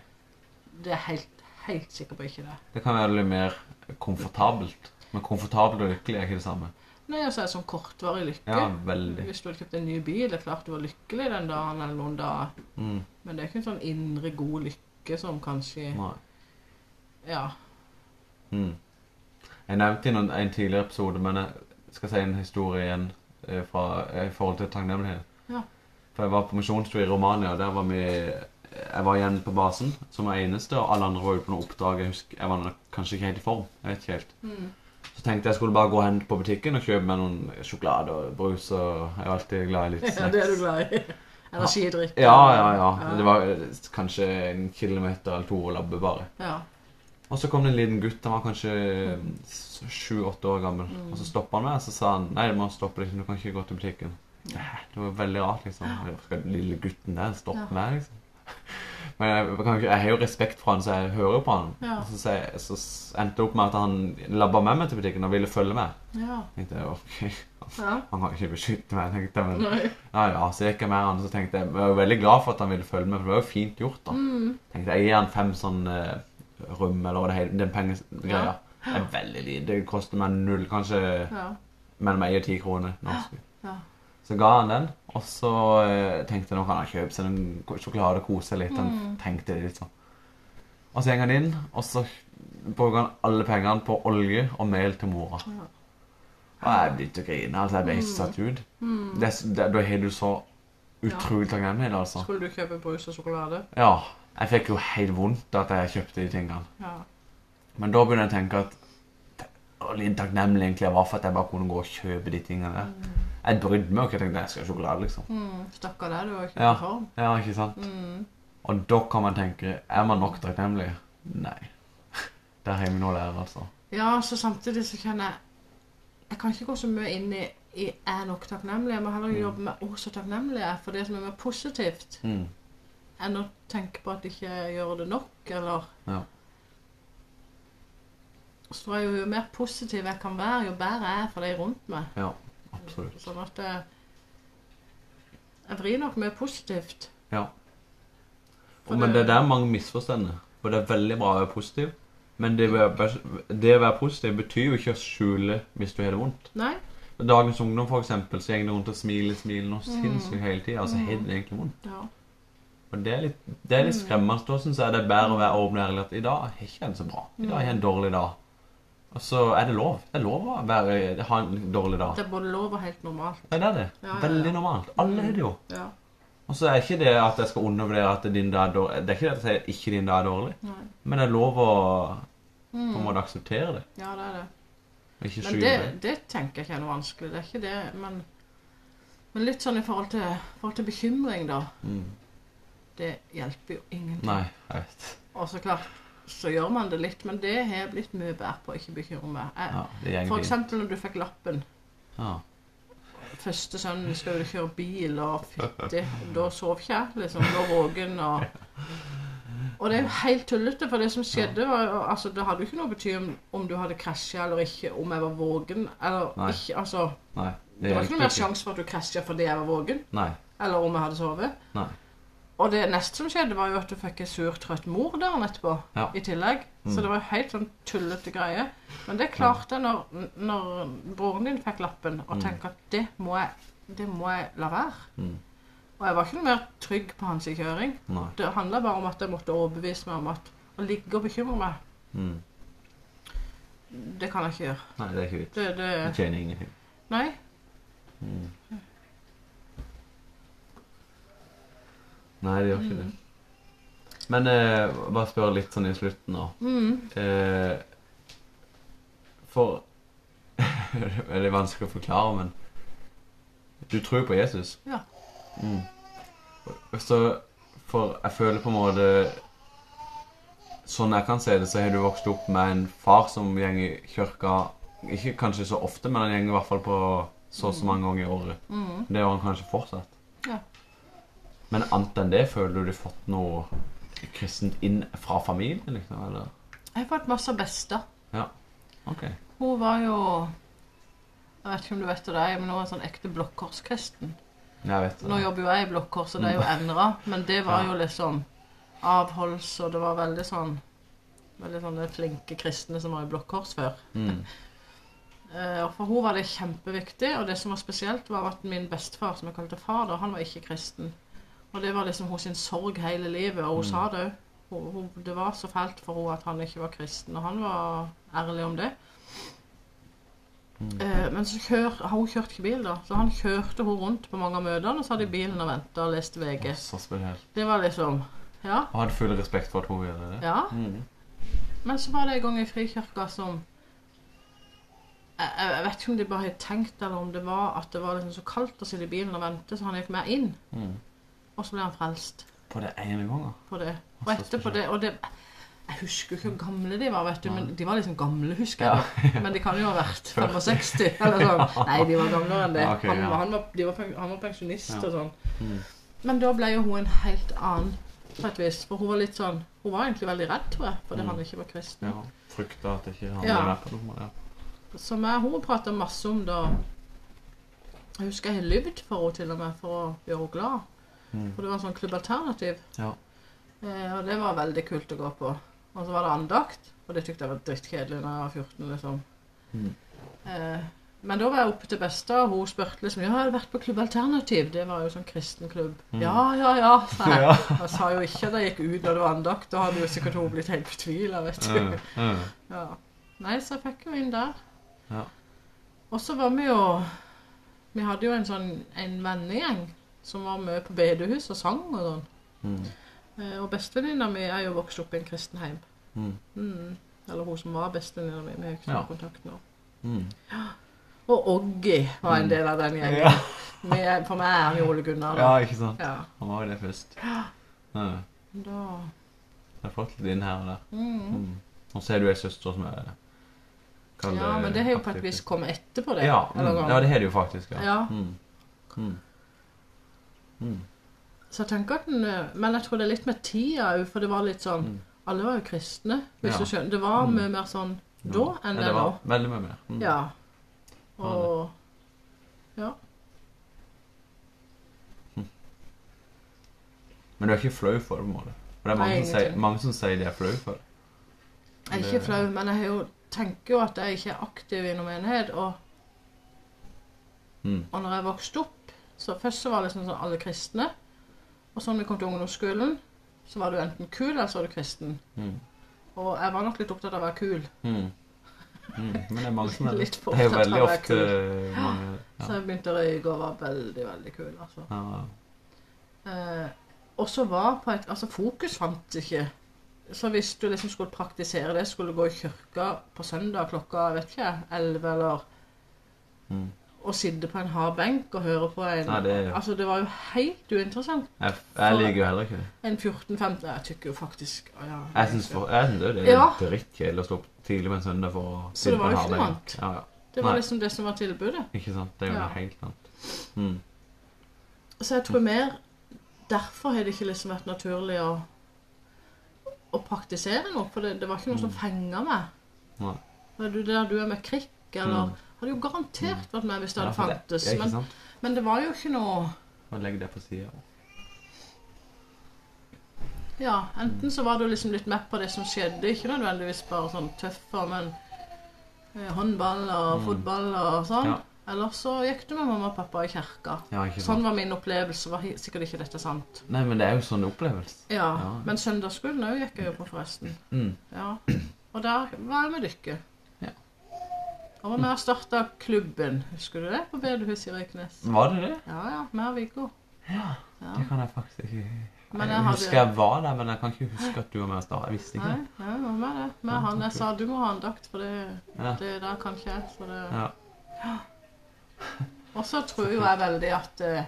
[SPEAKER 2] Det er jeg helt, helt sikker på ikke det.
[SPEAKER 1] Det kan være litt mer komfortabelt. Men komfortabel og lykkelig er ikke det samme.
[SPEAKER 2] Nei, og så er det sånn kortvarig lykke.
[SPEAKER 1] Ja, veldig.
[SPEAKER 2] Hvis du hadde kjøpt en ny bil, det er klart du var lykkelig den dagen eller noen dager,
[SPEAKER 1] Mm.
[SPEAKER 2] men det er ikke en sånn indre god lykke som kanskje
[SPEAKER 1] Nei.
[SPEAKER 2] Ja.
[SPEAKER 1] Mm. Jeg nevnte i noen, en tidligere episode, men jeg skal si en historie igjen eh, fra, eh, i forhold til takknemlighet.
[SPEAKER 2] Ja.
[SPEAKER 1] For jeg var på misjonstur i Romania. og Der var vi Jeg var igjen på basen som var eneste, og alle andre var ute på noe oppdrag. Jeg husker, jeg var nok kanskje ikke helt i form. Jeg vet ikke helt.
[SPEAKER 2] Mm.
[SPEAKER 1] Så tenkte jeg skulle bare gå hen på butikken og kjøpe meg noen sjokolade og brus. og Jeg er alltid glad i litt
[SPEAKER 2] ja
[SPEAKER 1] snacks.
[SPEAKER 2] det er du glad i. Energidrikk.
[SPEAKER 1] Ja, ja, ja. Det var eh, kanskje en kilometer eller to å labbe, bare.
[SPEAKER 2] Ja.
[SPEAKER 1] Og så kom det en liten gutt, han var kanskje eh, sju-åtte år gammel.
[SPEAKER 2] Mm.
[SPEAKER 1] Og så stoppa han meg, og så sa han nei, du må stoppe, liksom, du kan ikke gå til butikken. Det var veldig rart, liksom. Hvorfor Skal den lille gutten der stoppe
[SPEAKER 2] Ja.
[SPEAKER 1] meg, liksom? Men jeg, kan ikke, jeg har jo respekt for han, så jeg hører på han.
[SPEAKER 2] Ja.
[SPEAKER 1] Og så, sa jeg- så s- endte det opp med at han labba med meg til butikken og ville følge med.
[SPEAKER 2] ja.
[SPEAKER 1] Jeg tenkte, ok,
[SPEAKER 2] ja.
[SPEAKER 1] Han kan ikke beskytte meg, tenkte jeg. Men
[SPEAKER 2] Nei.
[SPEAKER 1] ja, ja, så gikk jeg med han, og så tenkte jeg, jeg var jo veldig glad for at han ville følge med, for det var jo fint gjort da.
[SPEAKER 2] Mm.
[SPEAKER 1] Tenkte jeg, gir han fem sånn eh, rum, eller hva det heter, den pengegreia.
[SPEAKER 2] Ja.
[SPEAKER 1] Det er veldig lite, det koster meg null, kanskje
[SPEAKER 2] Ja.
[SPEAKER 1] mellom 1 og 10 kroner norsk.
[SPEAKER 2] Ja.
[SPEAKER 1] Så ga han den, og så eh, tenkte jeg, nå kan han kjøpe seg noen ko- sjokolade og kose seg litt, han
[SPEAKER 2] Mm.
[SPEAKER 1] tenkte det litt sånn. Og så gikk han inn, og så bruker han alle pengene på olje og mel til mora.
[SPEAKER 2] Ja.
[SPEAKER 1] Og jeg begynte å grine, altså jeg ble
[SPEAKER 2] Mm.
[SPEAKER 1] helt satt ut.
[SPEAKER 2] Mm.
[SPEAKER 1] Det, er s- det, da har du så utrolig takknemlig, altså.
[SPEAKER 2] Skulle du kjøpe brus og sjokolade?
[SPEAKER 1] Ja. Jeg fikk jo helt vondt at jeg kjøpte de tingene.
[SPEAKER 2] Ja.
[SPEAKER 1] Men da begynner jeg å tenke at og litt takknemlig egentlig jeg var for at jeg bare kunne gå og kjøpe de tingene der. Jeg brydde meg jo ikke. Jeg tenkte jeg skal ha sjokolade, liksom.
[SPEAKER 2] Mm. Stakkar deg, du var ikke
[SPEAKER 1] Ja.
[SPEAKER 2] i form.
[SPEAKER 1] Ja, ikke sant?
[SPEAKER 2] Mm.
[SPEAKER 1] Og da kan man tenke Er man nok takknemlig? Nei. Der har vi noe å lære, altså.
[SPEAKER 2] Ja, så samtidig så kjenner jeg Jeg kan ikke gå så mye inn i, i 'er nok takknemlig'. Jeg må heller jobbe med 'å, så takknemlig jeg er' for det som er mer positivt,
[SPEAKER 1] Mm.
[SPEAKER 2] enn å tenke på at jeg ikke gjør det nok, eller
[SPEAKER 1] Ja.
[SPEAKER 2] Så tror jeg jo, jo mer positiv jeg kan være, jo bedre jeg er for de rundt meg.
[SPEAKER 1] Ja, absolutt.
[SPEAKER 2] Sånn at jeg, jeg vrir nok mye positivt.
[SPEAKER 1] Ja.
[SPEAKER 2] For
[SPEAKER 1] Og, men det er der mange misforstår. det. For det er veldig bra å være positiv. Men det, å være- det å være positiv betyr jo ikke å skjule hvis du har det vondt.
[SPEAKER 2] Nei?
[SPEAKER 1] Dagens ungdom for eksempel, så går det rundt og smiler smiler noe sinnssykt hele tida. Altså,
[SPEAKER 2] Mm.
[SPEAKER 1] har det egentlig vondt?
[SPEAKER 2] Ja.
[SPEAKER 1] Og det er litt, det er litt
[SPEAKER 2] Mm.
[SPEAKER 1] skremmende. Da syns jeg det er bedre å være åpen og ærlig at i dag har jeg ikke en så bra. I dag har
[SPEAKER 2] Mm.
[SPEAKER 1] jeg en dårlig dag. Og så er det lov. Det er lov å være, ha en dårlig dag.
[SPEAKER 2] Det er både lov og helt normalt.
[SPEAKER 1] Ja, det er det.
[SPEAKER 2] Ja, ja, ja.
[SPEAKER 1] Veldig normalt. Alle har det jo.
[SPEAKER 2] Ja.
[SPEAKER 1] Og så er ikke det at jeg skal undervurdere at din dag er dårlig. Det er ikke det at jeg sier ikke din dag er dårlig,
[SPEAKER 2] Nei.
[SPEAKER 1] men det er lov å på en
[SPEAKER 2] Mm.
[SPEAKER 1] måte akseptere det.
[SPEAKER 2] Ja, det er det.
[SPEAKER 1] Ikke
[SPEAKER 2] Men
[SPEAKER 1] skjul
[SPEAKER 2] det,
[SPEAKER 1] det.
[SPEAKER 2] det tenker jeg ikke er noe vanskelig. Det er ikke det, men, men litt sånn i forhold til, forhold til bekymring, da.
[SPEAKER 1] Mm.
[SPEAKER 2] Det hjelper jo ingenting.
[SPEAKER 1] Nei, jeg vet.
[SPEAKER 2] Og så klart så gjør man det litt, men det har jeg blitt mye bedre på å ikke bekymre meg. Jeg,
[SPEAKER 1] Ja, det
[SPEAKER 2] for
[SPEAKER 1] går fint.
[SPEAKER 2] eksempel når du fikk lappen.
[SPEAKER 1] Ja.
[SPEAKER 2] Første sønnen skal jo kjøre bil, og fytti Da sov ikke jeg, liksom. Da vågen og Og det er jo helt tullete, for det som skjedde, var jo Altså, det hadde jo ikke noe å bety om, om du hadde krasja eller ikke, om jeg var våken eller
[SPEAKER 1] Nei.
[SPEAKER 2] ikke. Altså,
[SPEAKER 1] Nei,
[SPEAKER 2] det var ikke
[SPEAKER 1] hjelper
[SPEAKER 2] noe mer sjanse for at du krasja fordi jeg var våken,
[SPEAKER 1] Nei.
[SPEAKER 2] eller om jeg hadde sovet.
[SPEAKER 1] Nei.
[SPEAKER 2] Og det neste som skjedde, var jo at du fikk ei sur, trøtt mor dagen etterpå.
[SPEAKER 1] Ja.
[SPEAKER 2] I tillegg. Så
[SPEAKER 1] Mm.
[SPEAKER 2] det var jo helt sånn tullete greie. Men det klarte jeg når, når broren din fikk lappen, og
[SPEAKER 1] Mm.
[SPEAKER 2] tenkte at det må, jeg, det må jeg la være.
[SPEAKER 1] Mm.
[SPEAKER 2] Og jeg var ikke noe mer trygg på hans kjøring.
[SPEAKER 1] Nei.
[SPEAKER 2] Det handla bare om at jeg måtte overbevise meg om at å ligge og bekymre meg,
[SPEAKER 1] Mm.
[SPEAKER 2] det kan jeg ikke gjøre.
[SPEAKER 1] Nei, det er ikke vits.
[SPEAKER 2] Det, det
[SPEAKER 1] Du tjener ingenting.
[SPEAKER 2] Nei.
[SPEAKER 1] Mm. Nei, det gjør ikke det. Men eh, bare spør litt sånn i slutten nå.
[SPEAKER 2] Mm.
[SPEAKER 1] Eh, for Det er veldig vanskelig å forklare, men du tror jo på Jesus.
[SPEAKER 2] Ja.
[SPEAKER 1] Mm. Og Så For jeg føler på en måte Sånn jeg kan se det, så har du vokst opp med en far som går i kirka Ikke kanskje så ofte, men han går i hvert fall på så og så mange ganger i året.
[SPEAKER 2] Mm.
[SPEAKER 1] Det har han kanskje fortsatt.
[SPEAKER 2] Ja.
[SPEAKER 1] Men annet enn det, føler du du har fått noe kristent inn fra familien, liksom? Eller?
[SPEAKER 2] Jeg har fått masse bester.
[SPEAKER 1] OK.
[SPEAKER 2] Hun var jo Jeg vet ikke om du vet det, men hun var en sånn ekte blåkorskristen.
[SPEAKER 1] Jeg vet det.
[SPEAKER 2] Nå jobber jo jeg i Blåkors, og det er jo endra, men det var jo liksom avholds, og det var veldig sånn Veldig sånne flinke kristne som var i Blåkors før.
[SPEAKER 1] Mm.
[SPEAKER 2] Eh, og For hun var det kjempeviktig, og det som var spesielt, var at min bestefar, som jeg kalte far, da, han var ikke kristen. Og det var liksom hennes sorg hele livet, og hun sa det òg. Hun- hun- Det var så fælt for henne at han ikke var kristen, og han var ærlig om det. Eh, men så kjør, har hun kjørt ikke bil, da, så han kjørte hun rundt på mange av møtene, og så hadde de bilen og venta og leste VG.
[SPEAKER 1] Så spesielt.
[SPEAKER 2] Det var liksom Ja.
[SPEAKER 1] Jeg hadde full respekt for at hun gjorde det.
[SPEAKER 2] ja.
[SPEAKER 1] Mm.
[SPEAKER 2] Men så var det en gang i frikirka som jeg, jeg jeg vet ikke om de bare hadde tenkt, eller om det var at det var liksom så kaldt å sitte i bilen og vente, så han gikk med inn.
[SPEAKER 1] Mm.
[SPEAKER 2] Og så ble han frelst
[SPEAKER 1] På det ene gangen.
[SPEAKER 2] på det. Og
[SPEAKER 1] Så
[SPEAKER 2] etterpå det Og det Jeg husker jo ikke hvor gamle de var, vet du, men
[SPEAKER 1] Nei.
[SPEAKER 2] de var liksom gamle, husker jeg. da. Men de kan jo ha vært 65 eller
[SPEAKER 1] Ja.
[SPEAKER 2] sånn. Nei, de var gamlere enn det.
[SPEAKER 1] Ok,
[SPEAKER 2] han,
[SPEAKER 1] ja.
[SPEAKER 2] han, var, de var, pen- han var pensjonist
[SPEAKER 1] Ja.
[SPEAKER 2] og sånn.
[SPEAKER 1] Mm.
[SPEAKER 2] Men da ble jo hun en helt annen, på et vis. For hun var litt sånn Hun var egentlig veldig redd, tror jeg, fordi
[SPEAKER 1] Mm.
[SPEAKER 2] han ikke var kristen.
[SPEAKER 1] Ja. Frykta at ikke han
[SPEAKER 2] Ja.
[SPEAKER 1] var med på noe. Ja.
[SPEAKER 2] Som jeg hun prata masse om da Jeg husker jeg har lyvd for henne til og med for å gjøre henne glad.
[SPEAKER 1] Mm.
[SPEAKER 2] For det var en sånn klubbalternativ.
[SPEAKER 1] Ja.
[SPEAKER 2] Eh, og det var veldig kult å gå på. Og så var det andakt, og det tykte jeg var drittkjedelig da jeg var 14. liksom.
[SPEAKER 1] Mm.
[SPEAKER 2] Eh, men da var jeg oppe til besta, og hun spurte liksom Ja, jeg hadde vært på klubbalternativ. Det var jo sånn kristen klubb. Ja, ja, ja, sa jeg.
[SPEAKER 1] Mm. Ja.
[SPEAKER 2] Jeg sa jo ikke at jeg gikk ut når det var andakt. Da hadde jo sikkert hun blitt helt fortvila, vet du.
[SPEAKER 1] Mm. Mm.
[SPEAKER 2] Ja. Nei, så jeg fikk jo inn der.
[SPEAKER 1] Ja.
[SPEAKER 2] Og så var vi jo Vi hadde jo en sånn en vennegjeng som var med på bedehus og sang og sånn.
[SPEAKER 1] Mm.
[SPEAKER 2] Eh, Og bestevenninna mi er jo vokst opp i en kristenheim.
[SPEAKER 1] Mm.
[SPEAKER 2] Mm. Eller hun som var bestevenninna mi. Vi har ikke
[SPEAKER 1] Ja.
[SPEAKER 2] noe kontakt nå.
[SPEAKER 1] Mm.
[SPEAKER 2] Og Oggy var en del av den gjengen.
[SPEAKER 1] Ja.
[SPEAKER 2] Med- for meg er han jo Ole Gunnar.
[SPEAKER 1] ja,
[SPEAKER 2] Da.
[SPEAKER 1] ikke sant.
[SPEAKER 2] Ja.
[SPEAKER 1] Han var jo det først. Ja.
[SPEAKER 2] da.
[SPEAKER 1] Jeg har fått litt inn her og der.
[SPEAKER 2] Mm.
[SPEAKER 1] Mm. Og så har du ei søster som er kall
[SPEAKER 2] ja, men det har jo på et
[SPEAKER 1] aktiv.
[SPEAKER 2] vis kommet etterpå det.
[SPEAKER 1] Ja,
[SPEAKER 2] eller
[SPEAKER 1] mm.
[SPEAKER 2] noe.
[SPEAKER 1] ja, det har du jo faktisk. Ja.
[SPEAKER 2] Ja.
[SPEAKER 1] Mm. Mm. Mm.
[SPEAKER 2] Så jeg tenker at den, eh, Men jeg tror det er litt med tida òg, for det var litt sånn
[SPEAKER 1] Mm.
[SPEAKER 2] Alle var jo kristne, hvis
[SPEAKER 1] Ja.
[SPEAKER 2] du skjønner. Det var
[SPEAKER 1] Mm.
[SPEAKER 2] mye mer sånn da enn
[SPEAKER 1] Ja,
[SPEAKER 2] det er nå.
[SPEAKER 1] var Veldig mye mer. Mm.
[SPEAKER 2] Ja. Og Ja.
[SPEAKER 1] Men du er ikke flau for det, på en måte. For det er mange,
[SPEAKER 2] Nei,
[SPEAKER 1] som sier,
[SPEAKER 2] ingenting.
[SPEAKER 1] mange som sier de er flau for det.
[SPEAKER 2] Jeg er
[SPEAKER 1] Det-
[SPEAKER 2] ikke flau, men jeg har jo, tenker jo at jeg ikke er aktiv i noen menighet. Og,
[SPEAKER 1] Mm.
[SPEAKER 2] og når jeg vokste opp så Først så var det liksom sånn alle kristne. Og så når vi kom til ungdomsskolen, så var du enten kul, eller så var du kristen.
[SPEAKER 1] Mm.
[SPEAKER 2] Og jeg var nok litt opptatt av å være kul.
[SPEAKER 1] Mm. Mm. Men det er mange som er det.
[SPEAKER 2] Litt for
[SPEAKER 1] Det er jo
[SPEAKER 2] opptatt av
[SPEAKER 1] veldig
[SPEAKER 2] å være
[SPEAKER 1] ofte mange
[SPEAKER 2] Så
[SPEAKER 1] ja.
[SPEAKER 2] jeg begynte å røyke og var veldig, veldig kul. altså.
[SPEAKER 1] Ja.
[SPEAKER 2] Eh, og så var på et Altså, fokus fantes ikke. Så hvis du liksom skulle praktisere det, skulle du gå i kirka på søndag klokka vet ikke jeg, 11 eller
[SPEAKER 1] Mm.
[SPEAKER 2] Og sitte på en hard benk og høre på en
[SPEAKER 1] Nei, det er jo-
[SPEAKER 2] Altså, det var jo helt uinteressant.
[SPEAKER 1] Jeg, jeg liker jo heller ikke det.
[SPEAKER 2] En 14-15 Jeg tykker jo faktisk å ja,
[SPEAKER 1] Jeg syns for- jeg syns jo det er
[SPEAKER 2] Ja.
[SPEAKER 1] drittkjedelig å stå opp tidlig på en søndag for å
[SPEAKER 2] Så det var jo
[SPEAKER 1] på en
[SPEAKER 2] ikke noe
[SPEAKER 1] halvdag.
[SPEAKER 2] annet.
[SPEAKER 1] Ja, ja.
[SPEAKER 2] Det var
[SPEAKER 1] Nei.
[SPEAKER 2] liksom det som var tilbudet.
[SPEAKER 1] Ikke sant? Det er jo
[SPEAKER 2] Ja.
[SPEAKER 1] noe helt annet. Mm.
[SPEAKER 2] Så jeg tror mer Derfor har det ikke liksom vært naturlig å å praktisere noe, for det, det var ikke noe som fenga meg.
[SPEAKER 1] Mm. Nei. Mm.
[SPEAKER 2] Var du der du er med krikk, eller Hadde jo garantert vært med hvis det hadde fantes,
[SPEAKER 1] Ja, ikke
[SPEAKER 2] men,
[SPEAKER 1] sant?
[SPEAKER 2] men det var jo ikke noe
[SPEAKER 1] Og legge det på sida.
[SPEAKER 2] Ja, enten så var du liksom litt med på det som skjedde, ikke nødvendigvis bare sånn tøffer, men eh, håndball og
[SPEAKER 1] Mm.
[SPEAKER 2] fotball og sånn.
[SPEAKER 1] Ja.
[SPEAKER 2] Eller så gikk du med mamma og pappa i kirka.
[SPEAKER 1] Ja, ikke sant?
[SPEAKER 2] Sånn var min opplevelse, var hi- sikkert ikke dette sant.
[SPEAKER 1] Nei, men det er jo sånn opplevelse.
[SPEAKER 2] Ja,
[SPEAKER 1] Ja.
[SPEAKER 2] men søndagsskolen òg gikk jeg jo på, forresten.
[SPEAKER 1] Mm.
[SPEAKER 2] Ja. Og der var jeg med dere.
[SPEAKER 1] Ja.
[SPEAKER 2] Og var med og starta klubben, husker du det? På bedehuset i Røyknes.
[SPEAKER 1] Var det det?
[SPEAKER 2] Ja ja, med Viggo.
[SPEAKER 1] Ja.
[SPEAKER 2] Ja.
[SPEAKER 1] Det kan jeg faktisk ikke
[SPEAKER 2] Men
[SPEAKER 1] Jeg
[SPEAKER 2] jeg hadde
[SPEAKER 1] husker jeg var der, men jeg kan ikke huske at du var med oss da. Jeg visste ikke
[SPEAKER 2] Nei,
[SPEAKER 1] det.
[SPEAKER 2] ja, jeg var med det. Med
[SPEAKER 1] Ja,
[SPEAKER 2] han
[SPEAKER 1] ok.
[SPEAKER 2] jeg sa du må ha andakt, for det
[SPEAKER 1] Ja.
[SPEAKER 2] Det der kan ikke jeg, så det...
[SPEAKER 1] Ja.
[SPEAKER 2] Og så tror jo jeg veldig at eh,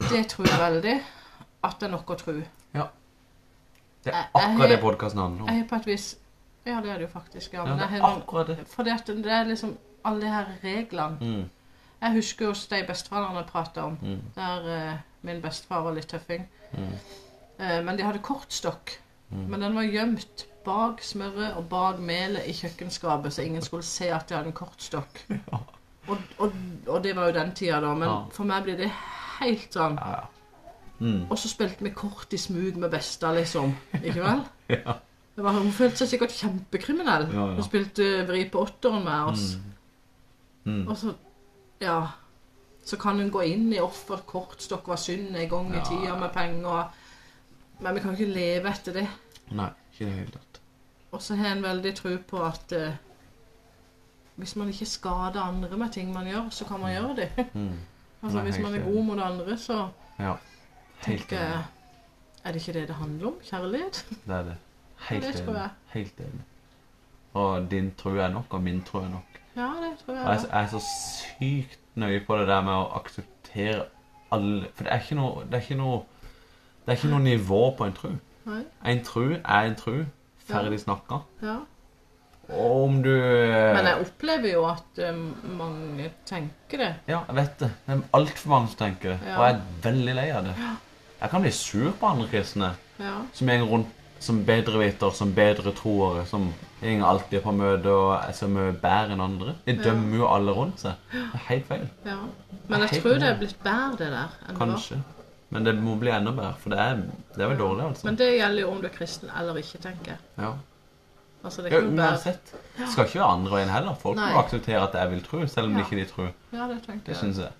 [SPEAKER 2] Det tror jeg veldig at det er nok å tro.
[SPEAKER 1] Det
[SPEAKER 2] Jeg-
[SPEAKER 1] er
[SPEAKER 2] jeg har-
[SPEAKER 1] akkurat det podkasten handler om.
[SPEAKER 2] Jeg har på et vis Ja, det er det jo faktisk, ja.
[SPEAKER 1] Ja,
[SPEAKER 2] Men
[SPEAKER 1] det
[SPEAKER 2] jeg
[SPEAKER 1] er
[SPEAKER 2] har noen-
[SPEAKER 1] akkurat det.
[SPEAKER 2] Fordi at det er liksom alle de her reglene.
[SPEAKER 1] Mm.
[SPEAKER 2] Jeg husker jo de besteforeldrene jeg prata om,
[SPEAKER 1] Mm.
[SPEAKER 2] der eh, min bestefar var litt tøffing.
[SPEAKER 1] Mm.
[SPEAKER 2] Eh, men de hadde kortstokk.
[SPEAKER 1] Mm.
[SPEAKER 2] Men den var gjemt bak smøret og bak melet i kjøkkenskapet, så ingen skulle se at de hadde en kortstokk. Og, og, og det var jo den tida, da. Men
[SPEAKER 1] Ja.
[SPEAKER 2] for meg blir det helt sånn.
[SPEAKER 1] Ja, ja. Mm.
[SPEAKER 2] Og så spilte vi kort i smug med besta, liksom. Ikke vel?
[SPEAKER 1] Ja.
[SPEAKER 2] Det var, hun følte seg sikkert kjempekriminell.
[SPEAKER 1] Ja, ja.
[SPEAKER 2] Hun spilte eh, vri på åtteren med oss.
[SPEAKER 1] Mm.
[SPEAKER 2] Og så Ja. Så kan hun gå inn i offer, kortstokk var synd en gang i
[SPEAKER 1] Ja,
[SPEAKER 2] tida
[SPEAKER 1] ja.
[SPEAKER 2] med penger. Men vi kan ikke leve etter det.
[SPEAKER 1] Nei, ikke i det hele tatt.
[SPEAKER 2] Og så har en veldig tro på at eh, hvis man ikke skader andre med ting man gjør, så kan man gjøre det.
[SPEAKER 1] Mm.
[SPEAKER 2] altså
[SPEAKER 1] Nei,
[SPEAKER 2] Hvis man er
[SPEAKER 1] helt
[SPEAKER 2] god mot andre, så
[SPEAKER 1] Ja. Helt
[SPEAKER 2] tenker
[SPEAKER 1] enig.
[SPEAKER 2] jeg Er det ikke det det handler om? Kjærlighet?
[SPEAKER 1] Det er det. Helt
[SPEAKER 2] det tror
[SPEAKER 1] enig.
[SPEAKER 2] jeg.
[SPEAKER 1] Helt enig. Og din tro er nok, og min tro er nok.
[SPEAKER 2] Ja, det tror
[SPEAKER 1] Og jeg,
[SPEAKER 2] jeg.
[SPEAKER 1] jeg er så sykt nøye på det der med å akseptere alle For det er ikke noe Det er ikke noe, det er ikke noe nivå på en tru.
[SPEAKER 2] Nei,
[SPEAKER 1] En tru er en tru. Ferdig snakka.
[SPEAKER 2] ja.
[SPEAKER 1] Og om du
[SPEAKER 2] Men jeg opplever jo at eh, mange tenker det.
[SPEAKER 1] Ja, jeg vet det. Det er altfor mange som tenker det.
[SPEAKER 2] Ja.
[SPEAKER 1] Og jeg er veldig lei av det. Jeg kan bli sur på andre kristne
[SPEAKER 2] Ja.
[SPEAKER 1] som går rundt som bedreviter, som bedre troere, som går alltid på møte og er så mye bedre enn andre. De
[SPEAKER 2] Ja.
[SPEAKER 1] dømmer jo alle rundt seg. Det er helt feil.
[SPEAKER 2] ja. Men jeg
[SPEAKER 1] Helt
[SPEAKER 2] tror det er blitt bedre, det der. enn det var.
[SPEAKER 1] Kanskje. Men det må bli enda bedre, for det er, det er vel dårlig, altså.
[SPEAKER 2] Men det gjelder jo om du er kristen eller ikke, tenker jeg.
[SPEAKER 1] ja.
[SPEAKER 2] Altså, det
[SPEAKER 1] ja,
[SPEAKER 2] er ikke noe bedre.
[SPEAKER 1] uansett. Det skal ikke være andre veien heller. Folk
[SPEAKER 2] Nei.
[SPEAKER 1] må akseptere at jeg vil tro, selv om
[SPEAKER 2] Ja.
[SPEAKER 1] ikke de tror.
[SPEAKER 2] Ja, det tenker
[SPEAKER 1] Det sånn
[SPEAKER 2] jeg.
[SPEAKER 1] syns jeg.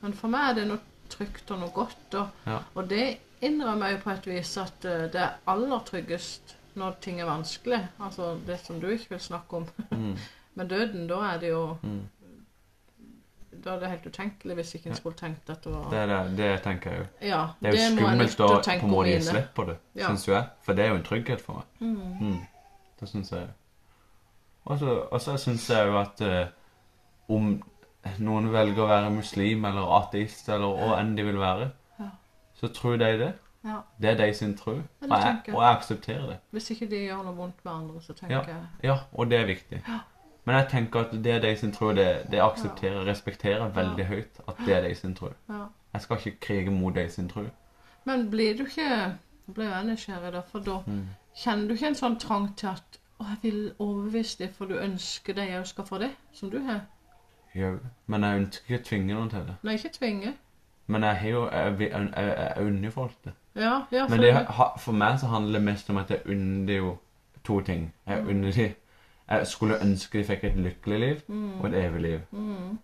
[SPEAKER 2] Men for meg er det noe trygt og noe godt. Og,
[SPEAKER 1] Ja.
[SPEAKER 2] og det innrømmer jeg jo på et vis at eh, det er aller tryggest når ting er vanskelig. Altså det som du ikke vil snakke om.
[SPEAKER 1] Mm.
[SPEAKER 2] Men døden, da er det jo
[SPEAKER 1] Mm.
[SPEAKER 2] Da er det helt utenkelig hvis ikke en
[SPEAKER 1] Ja.
[SPEAKER 2] skulle tenkt at det var
[SPEAKER 1] Det, er det, det tenker jeg jo.
[SPEAKER 2] Ja,
[SPEAKER 1] Det er jo
[SPEAKER 2] må jeg
[SPEAKER 1] skummelt
[SPEAKER 2] nødt
[SPEAKER 1] å
[SPEAKER 2] til
[SPEAKER 1] på
[SPEAKER 2] tenke
[SPEAKER 1] en måte gi
[SPEAKER 2] om mine.
[SPEAKER 1] slipp på det,
[SPEAKER 2] Ja.
[SPEAKER 1] syns jo jeg. For det er jo en trygghet for meg.
[SPEAKER 2] Mm.
[SPEAKER 1] Mm. Det syns jeg. Og så- og så syns jeg jo at eh, om noen velger å være muslim eller ateist eller hva enn de vil være,
[SPEAKER 2] Ja.
[SPEAKER 1] så tror de det.
[SPEAKER 2] Ja.
[SPEAKER 1] Det er de sin tro.
[SPEAKER 2] det
[SPEAKER 1] Og jeg,
[SPEAKER 2] tenker jeg.
[SPEAKER 1] og jeg aksepterer det.
[SPEAKER 2] Hvis ikke de gjør noe vondt med andre, så tenker jeg
[SPEAKER 1] Ja, og det er viktig. Men jeg tenker at det er de sin tro. Det, det aksepterer og respekterer veldig høyt at det er de sin tro.
[SPEAKER 2] ja.
[SPEAKER 1] Jeg skal ikke krige mot de sin tro.
[SPEAKER 2] Men blir du ikke Nå ble jeg nysgjerrig, da, for da
[SPEAKER 1] Mm.
[SPEAKER 2] kjenner du ikke en sånn trang til at å, jeg vil overbevise dem, for du ønsker de òg skal få det, som du har?
[SPEAKER 1] Jo, Men jeg ønsker ikke å tvinge noen til det.
[SPEAKER 2] Nei, ikke tvinge.
[SPEAKER 1] Men jeg har jo Jeg, vil- jeg, jeg, jeg unner folk det.
[SPEAKER 2] Ja, ja, for
[SPEAKER 1] Men det, ha- for meg så handler det mest om at jeg unner jo to ting. Jeg unner de Jeg skulle ønske de fikk et lykkelig liv
[SPEAKER 2] Mm.
[SPEAKER 1] og et evig liv.
[SPEAKER 2] Mm,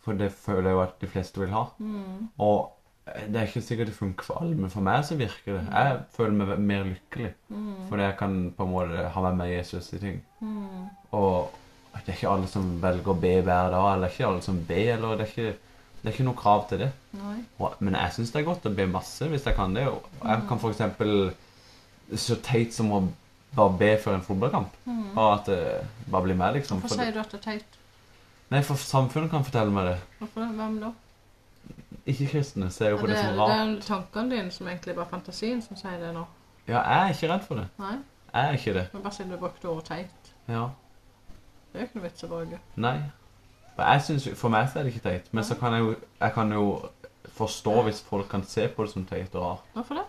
[SPEAKER 1] For det føler jeg jo at de fleste vil ha.
[SPEAKER 2] mm,
[SPEAKER 1] Og eh, det er ikke sikkert det funker for alle, men for meg så virker det. Jeg føler meg mer lykkelig.
[SPEAKER 2] mm,
[SPEAKER 1] Fordi jeg kan på en måte ha med meg Jesus i ting.
[SPEAKER 2] mm.
[SPEAKER 1] Og det er ikke alle som velger å be hver dag, eller det er ikke alle som ber, eller det er ikke, det er ikke noe krav til det.
[SPEAKER 2] Nei.
[SPEAKER 1] Og, men jeg syns det er godt å be masse hvis jeg kan det. Og jeg kan f.eks. så teit som å bare be før en fotballkamp. Og at det bare blir med, liksom.
[SPEAKER 2] Mm. Hvorfor
[SPEAKER 1] For det-
[SPEAKER 2] sier du at det er teit?
[SPEAKER 1] Nei, for samfunnet kan fortelle meg det.
[SPEAKER 2] Hvorfor, hvem da?
[SPEAKER 1] Ikke-kristne ser jo
[SPEAKER 2] Ja,
[SPEAKER 1] på
[SPEAKER 2] det,
[SPEAKER 1] det som
[SPEAKER 2] er- det
[SPEAKER 1] rart.
[SPEAKER 2] er tankene dine som egentlig bare er fantasien som sier det nå.
[SPEAKER 1] Ja, jeg er ikke redd for det.
[SPEAKER 2] Nei,
[SPEAKER 1] Jeg er ikke det.
[SPEAKER 2] men bare siden du brukte ordet teit.
[SPEAKER 1] Ja.
[SPEAKER 2] Det er jo ikke noe vits å bruke.
[SPEAKER 1] Nei. For, jeg synes, jo- for meg så er det ikke teit. Men så kan jeg jo, jeg kan jo forstå hvis folk kan se på det som teit og rart.
[SPEAKER 2] Hvorfor det?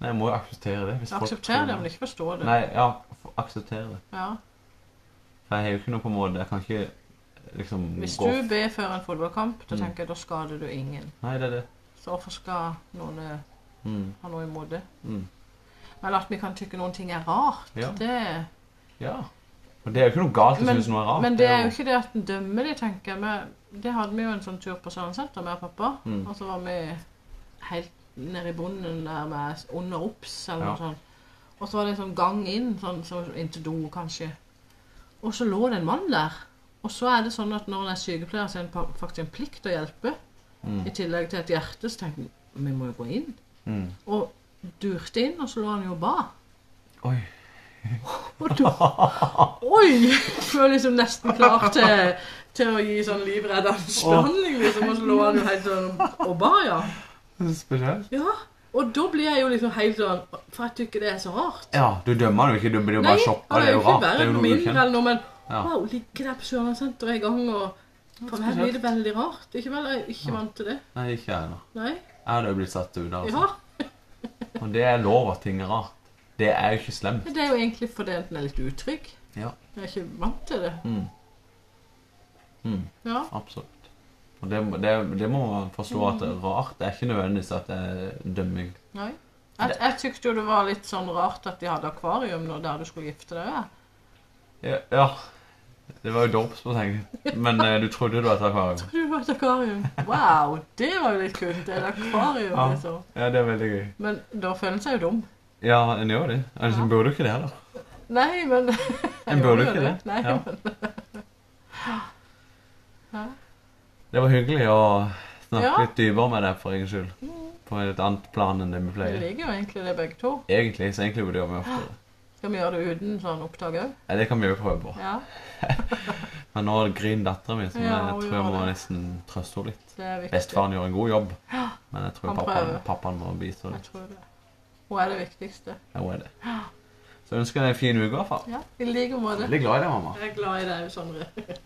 [SPEAKER 1] Nei, jeg må jo akseptere det. Hvis folk
[SPEAKER 2] Aksepter
[SPEAKER 1] tror-
[SPEAKER 2] det, men ikke forstå det.
[SPEAKER 1] Nei, ja, f- akseptere det.
[SPEAKER 2] Ja.
[SPEAKER 1] For jeg har jo ikke noe på en måte Jeg kan ikke liksom
[SPEAKER 2] Hvis
[SPEAKER 1] gå
[SPEAKER 2] du ber før en fotballkamp, da
[SPEAKER 1] Mm.
[SPEAKER 2] tenker jeg da skader du ingen.
[SPEAKER 1] Nei, det er det.
[SPEAKER 2] Så hvorfor skal noen eh,
[SPEAKER 1] Mm.
[SPEAKER 2] ha noe imot det?
[SPEAKER 1] Mm.
[SPEAKER 2] Men at vi kan tykke noen ting er rart,
[SPEAKER 1] Ja.
[SPEAKER 2] det
[SPEAKER 1] Ja. Og det er jo ikke noe galt hvis du
[SPEAKER 2] Men-
[SPEAKER 1] synes noe er rart.
[SPEAKER 2] Men det er jo ikke det at en dømmer de, tenker jeg. Men Det hadde vi jo en sånn tur på Sørensenter med pappa.
[SPEAKER 1] Mm.
[SPEAKER 2] Og så var vi helt nede i bunnen der med under obs eller
[SPEAKER 1] Ja.
[SPEAKER 2] noe sånt. Og så var det en sånn gang inn, sånn, så inn til do kanskje. Og så lå det en mann der. Og så er det sånn at når en er sykepleier, så er det pa- faktisk en plikt å hjelpe.
[SPEAKER 1] Mm.
[SPEAKER 2] I tillegg til et hjerte, så tenker vi vi må jo gå inn.
[SPEAKER 1] Mm.
[SPEAKER 2] Og durte inn, og så lå han jo ba.
[SPEAKER 1] Oi.
[SPEAKER 2] Og da Oi! Du var liksom nesten klar til, til å gi sånn livreddende behandling, liksom. Og så lå han jo helt sånn og ba, ja.
[SPEAKER 1] Det er spesielt.
[SPEAKER 2] ja. Og da blir jeg jo liksom helt sånn For jeg tykker det er så rart.
[SPEAKER 1] Ja, du dømmer han jo ikke. Du blir jo
[SPEAKER 2] Nei,
[SPEAKER 1] bare sjokka.
[SPEAKER 2] han
[SPEAKER 1] Det
[SPEAKER 2] er
[SPEAKER 1] er
[SPEAKER 2] jo
[SPEAKER 1] jo
[SPEAKER 2] ikke
[SPEAKER 1] rart. Det
[SPEAKER 2] verre
[SPEAKER 1] er jo noe
[SPEAKER 2] noe mindre
[SPEAKER 1] ukjent.
[SPEAKER 2] eller noe, men
[SPEAKER 1] Ja.
[SPEAKER 2] wow, ligger der på Sørlandssenteret i gang, og For meg blir det veldig rart. Ikke vel, jeg er ikke vant til det.
[SPEAKER 1] Nei, ikke jeg heller.
[SPEAKER 2] Nei.
[SPEAKER 1] Jeg hadde jo blitt satt ut. altså.
[SPEAKER 2] Ja.
[SPEAKER 1] Og det er lov at ting er rart. Det er jo ikke slemt.
[SPEAKER 2] Det er jo egentlig fordi en er litt utrygg.
[SPEAKER 1] Ja.
[SPEAKER 2] Jeg er ikke vant til det.
[SPEAKER 1] Mm. Mm.
[SPEAKER 2] Ja.
[SPEAKER 1] Absolutt. Og det, det, det må man forstå at det er rart. Det er ikke nødvendigvis at det er dømming.
[SPEAKER 2] Nei. Jeg, jeg tykte jo det var litt sånn rart at de hadde akvarium nå der du skulle gifte deg. Ja.
[SPEAKER 1] Ja. ja. Det var jo dåpsbasseng. Men eh, du trodde du var et akvarium.
[SPEAKER 2] Du har et akvarium. Wow, det var jo litt kult. Et akvarium,
[SPEAKER 1] Ja.
[SPEAKER 2] liksom.
[SPEAKER 1] Ja, det er veldig gøy.
[SPEAKER 2] Men da føler en seg jo dum.
[SPEAKER 1] Ja, en gjør det. En
[SPEAKER 2] Ja.
[SPEAKER 1] burde jo ikke det heller.
[SPEAKER 2] Nei, men
[SPEAKER 1] En
[SPEAKER 2] Jeg gjorde
[SPEAKER 1] burde
[SPEAKER 2] jo
[SPEAKER 1] ikke det.
[SPEAKER 2] Nei,
[SPEAKER 1] Ja.
[SPEAKER 2] men
[SPEAKER 1] Det var hyggelig å snakke
[SPEAKER 2] Ja.
[SPEAKER 1] litt dypere med deg for egen skyld. På et annet plan enn det vi
[SPEAKER 2] vi
[SPEAKER 1] pleier.
[SPEAKER 2] liker jo egentlig det, begge to.
[SPEAKER 1] Egentlig, så egentlig burde vi gjøre det oftere.
[SPEAKER 2] Skal vi gjøre det uten sånn opptak òg?
[SPEAKER 1] Ja, det kan vi jo prøve på.
[SPEAKER 2] Ja,
[SPEAKER 1] Men nå griner dattera mi, så
[SPEAKER 2] Ja,
[SPEAKER 1] jeg
[SPEAKER 2] hun
[SPEAKER 1] tror jeg
[SPEAKER 2] gjør
[SPEAKER 1] må
[SPEAKER 2] det.
[SPEAKER 1] nesten trøste henne litt.
[SPEAKER 2] det er viktig.
[SPEAKER 1] Bestefaren gjør en god jobb, men jeg tror
[SPEAKER 2] Han
[SPEAKER 1] pappaen,
[SPEAKER 2] prøver.
[SPEAKER 1] pappaen må bistå
[SPEAKER 2] Jeg
[SPEAKER 1] litt.
[SPEAKER 2] tror det. Hun er det viktigste.
[SPEAKER 1] Ja, hun er det. Så jeg ønsker deg en fin uke, i hvert fall.
[SPEAKER 2] Ja, I like måte.
[SPEAKER 1] Veldig glad i deg, mamma.
[SPEAKER 2] Jeg er glad i deg, Sondre.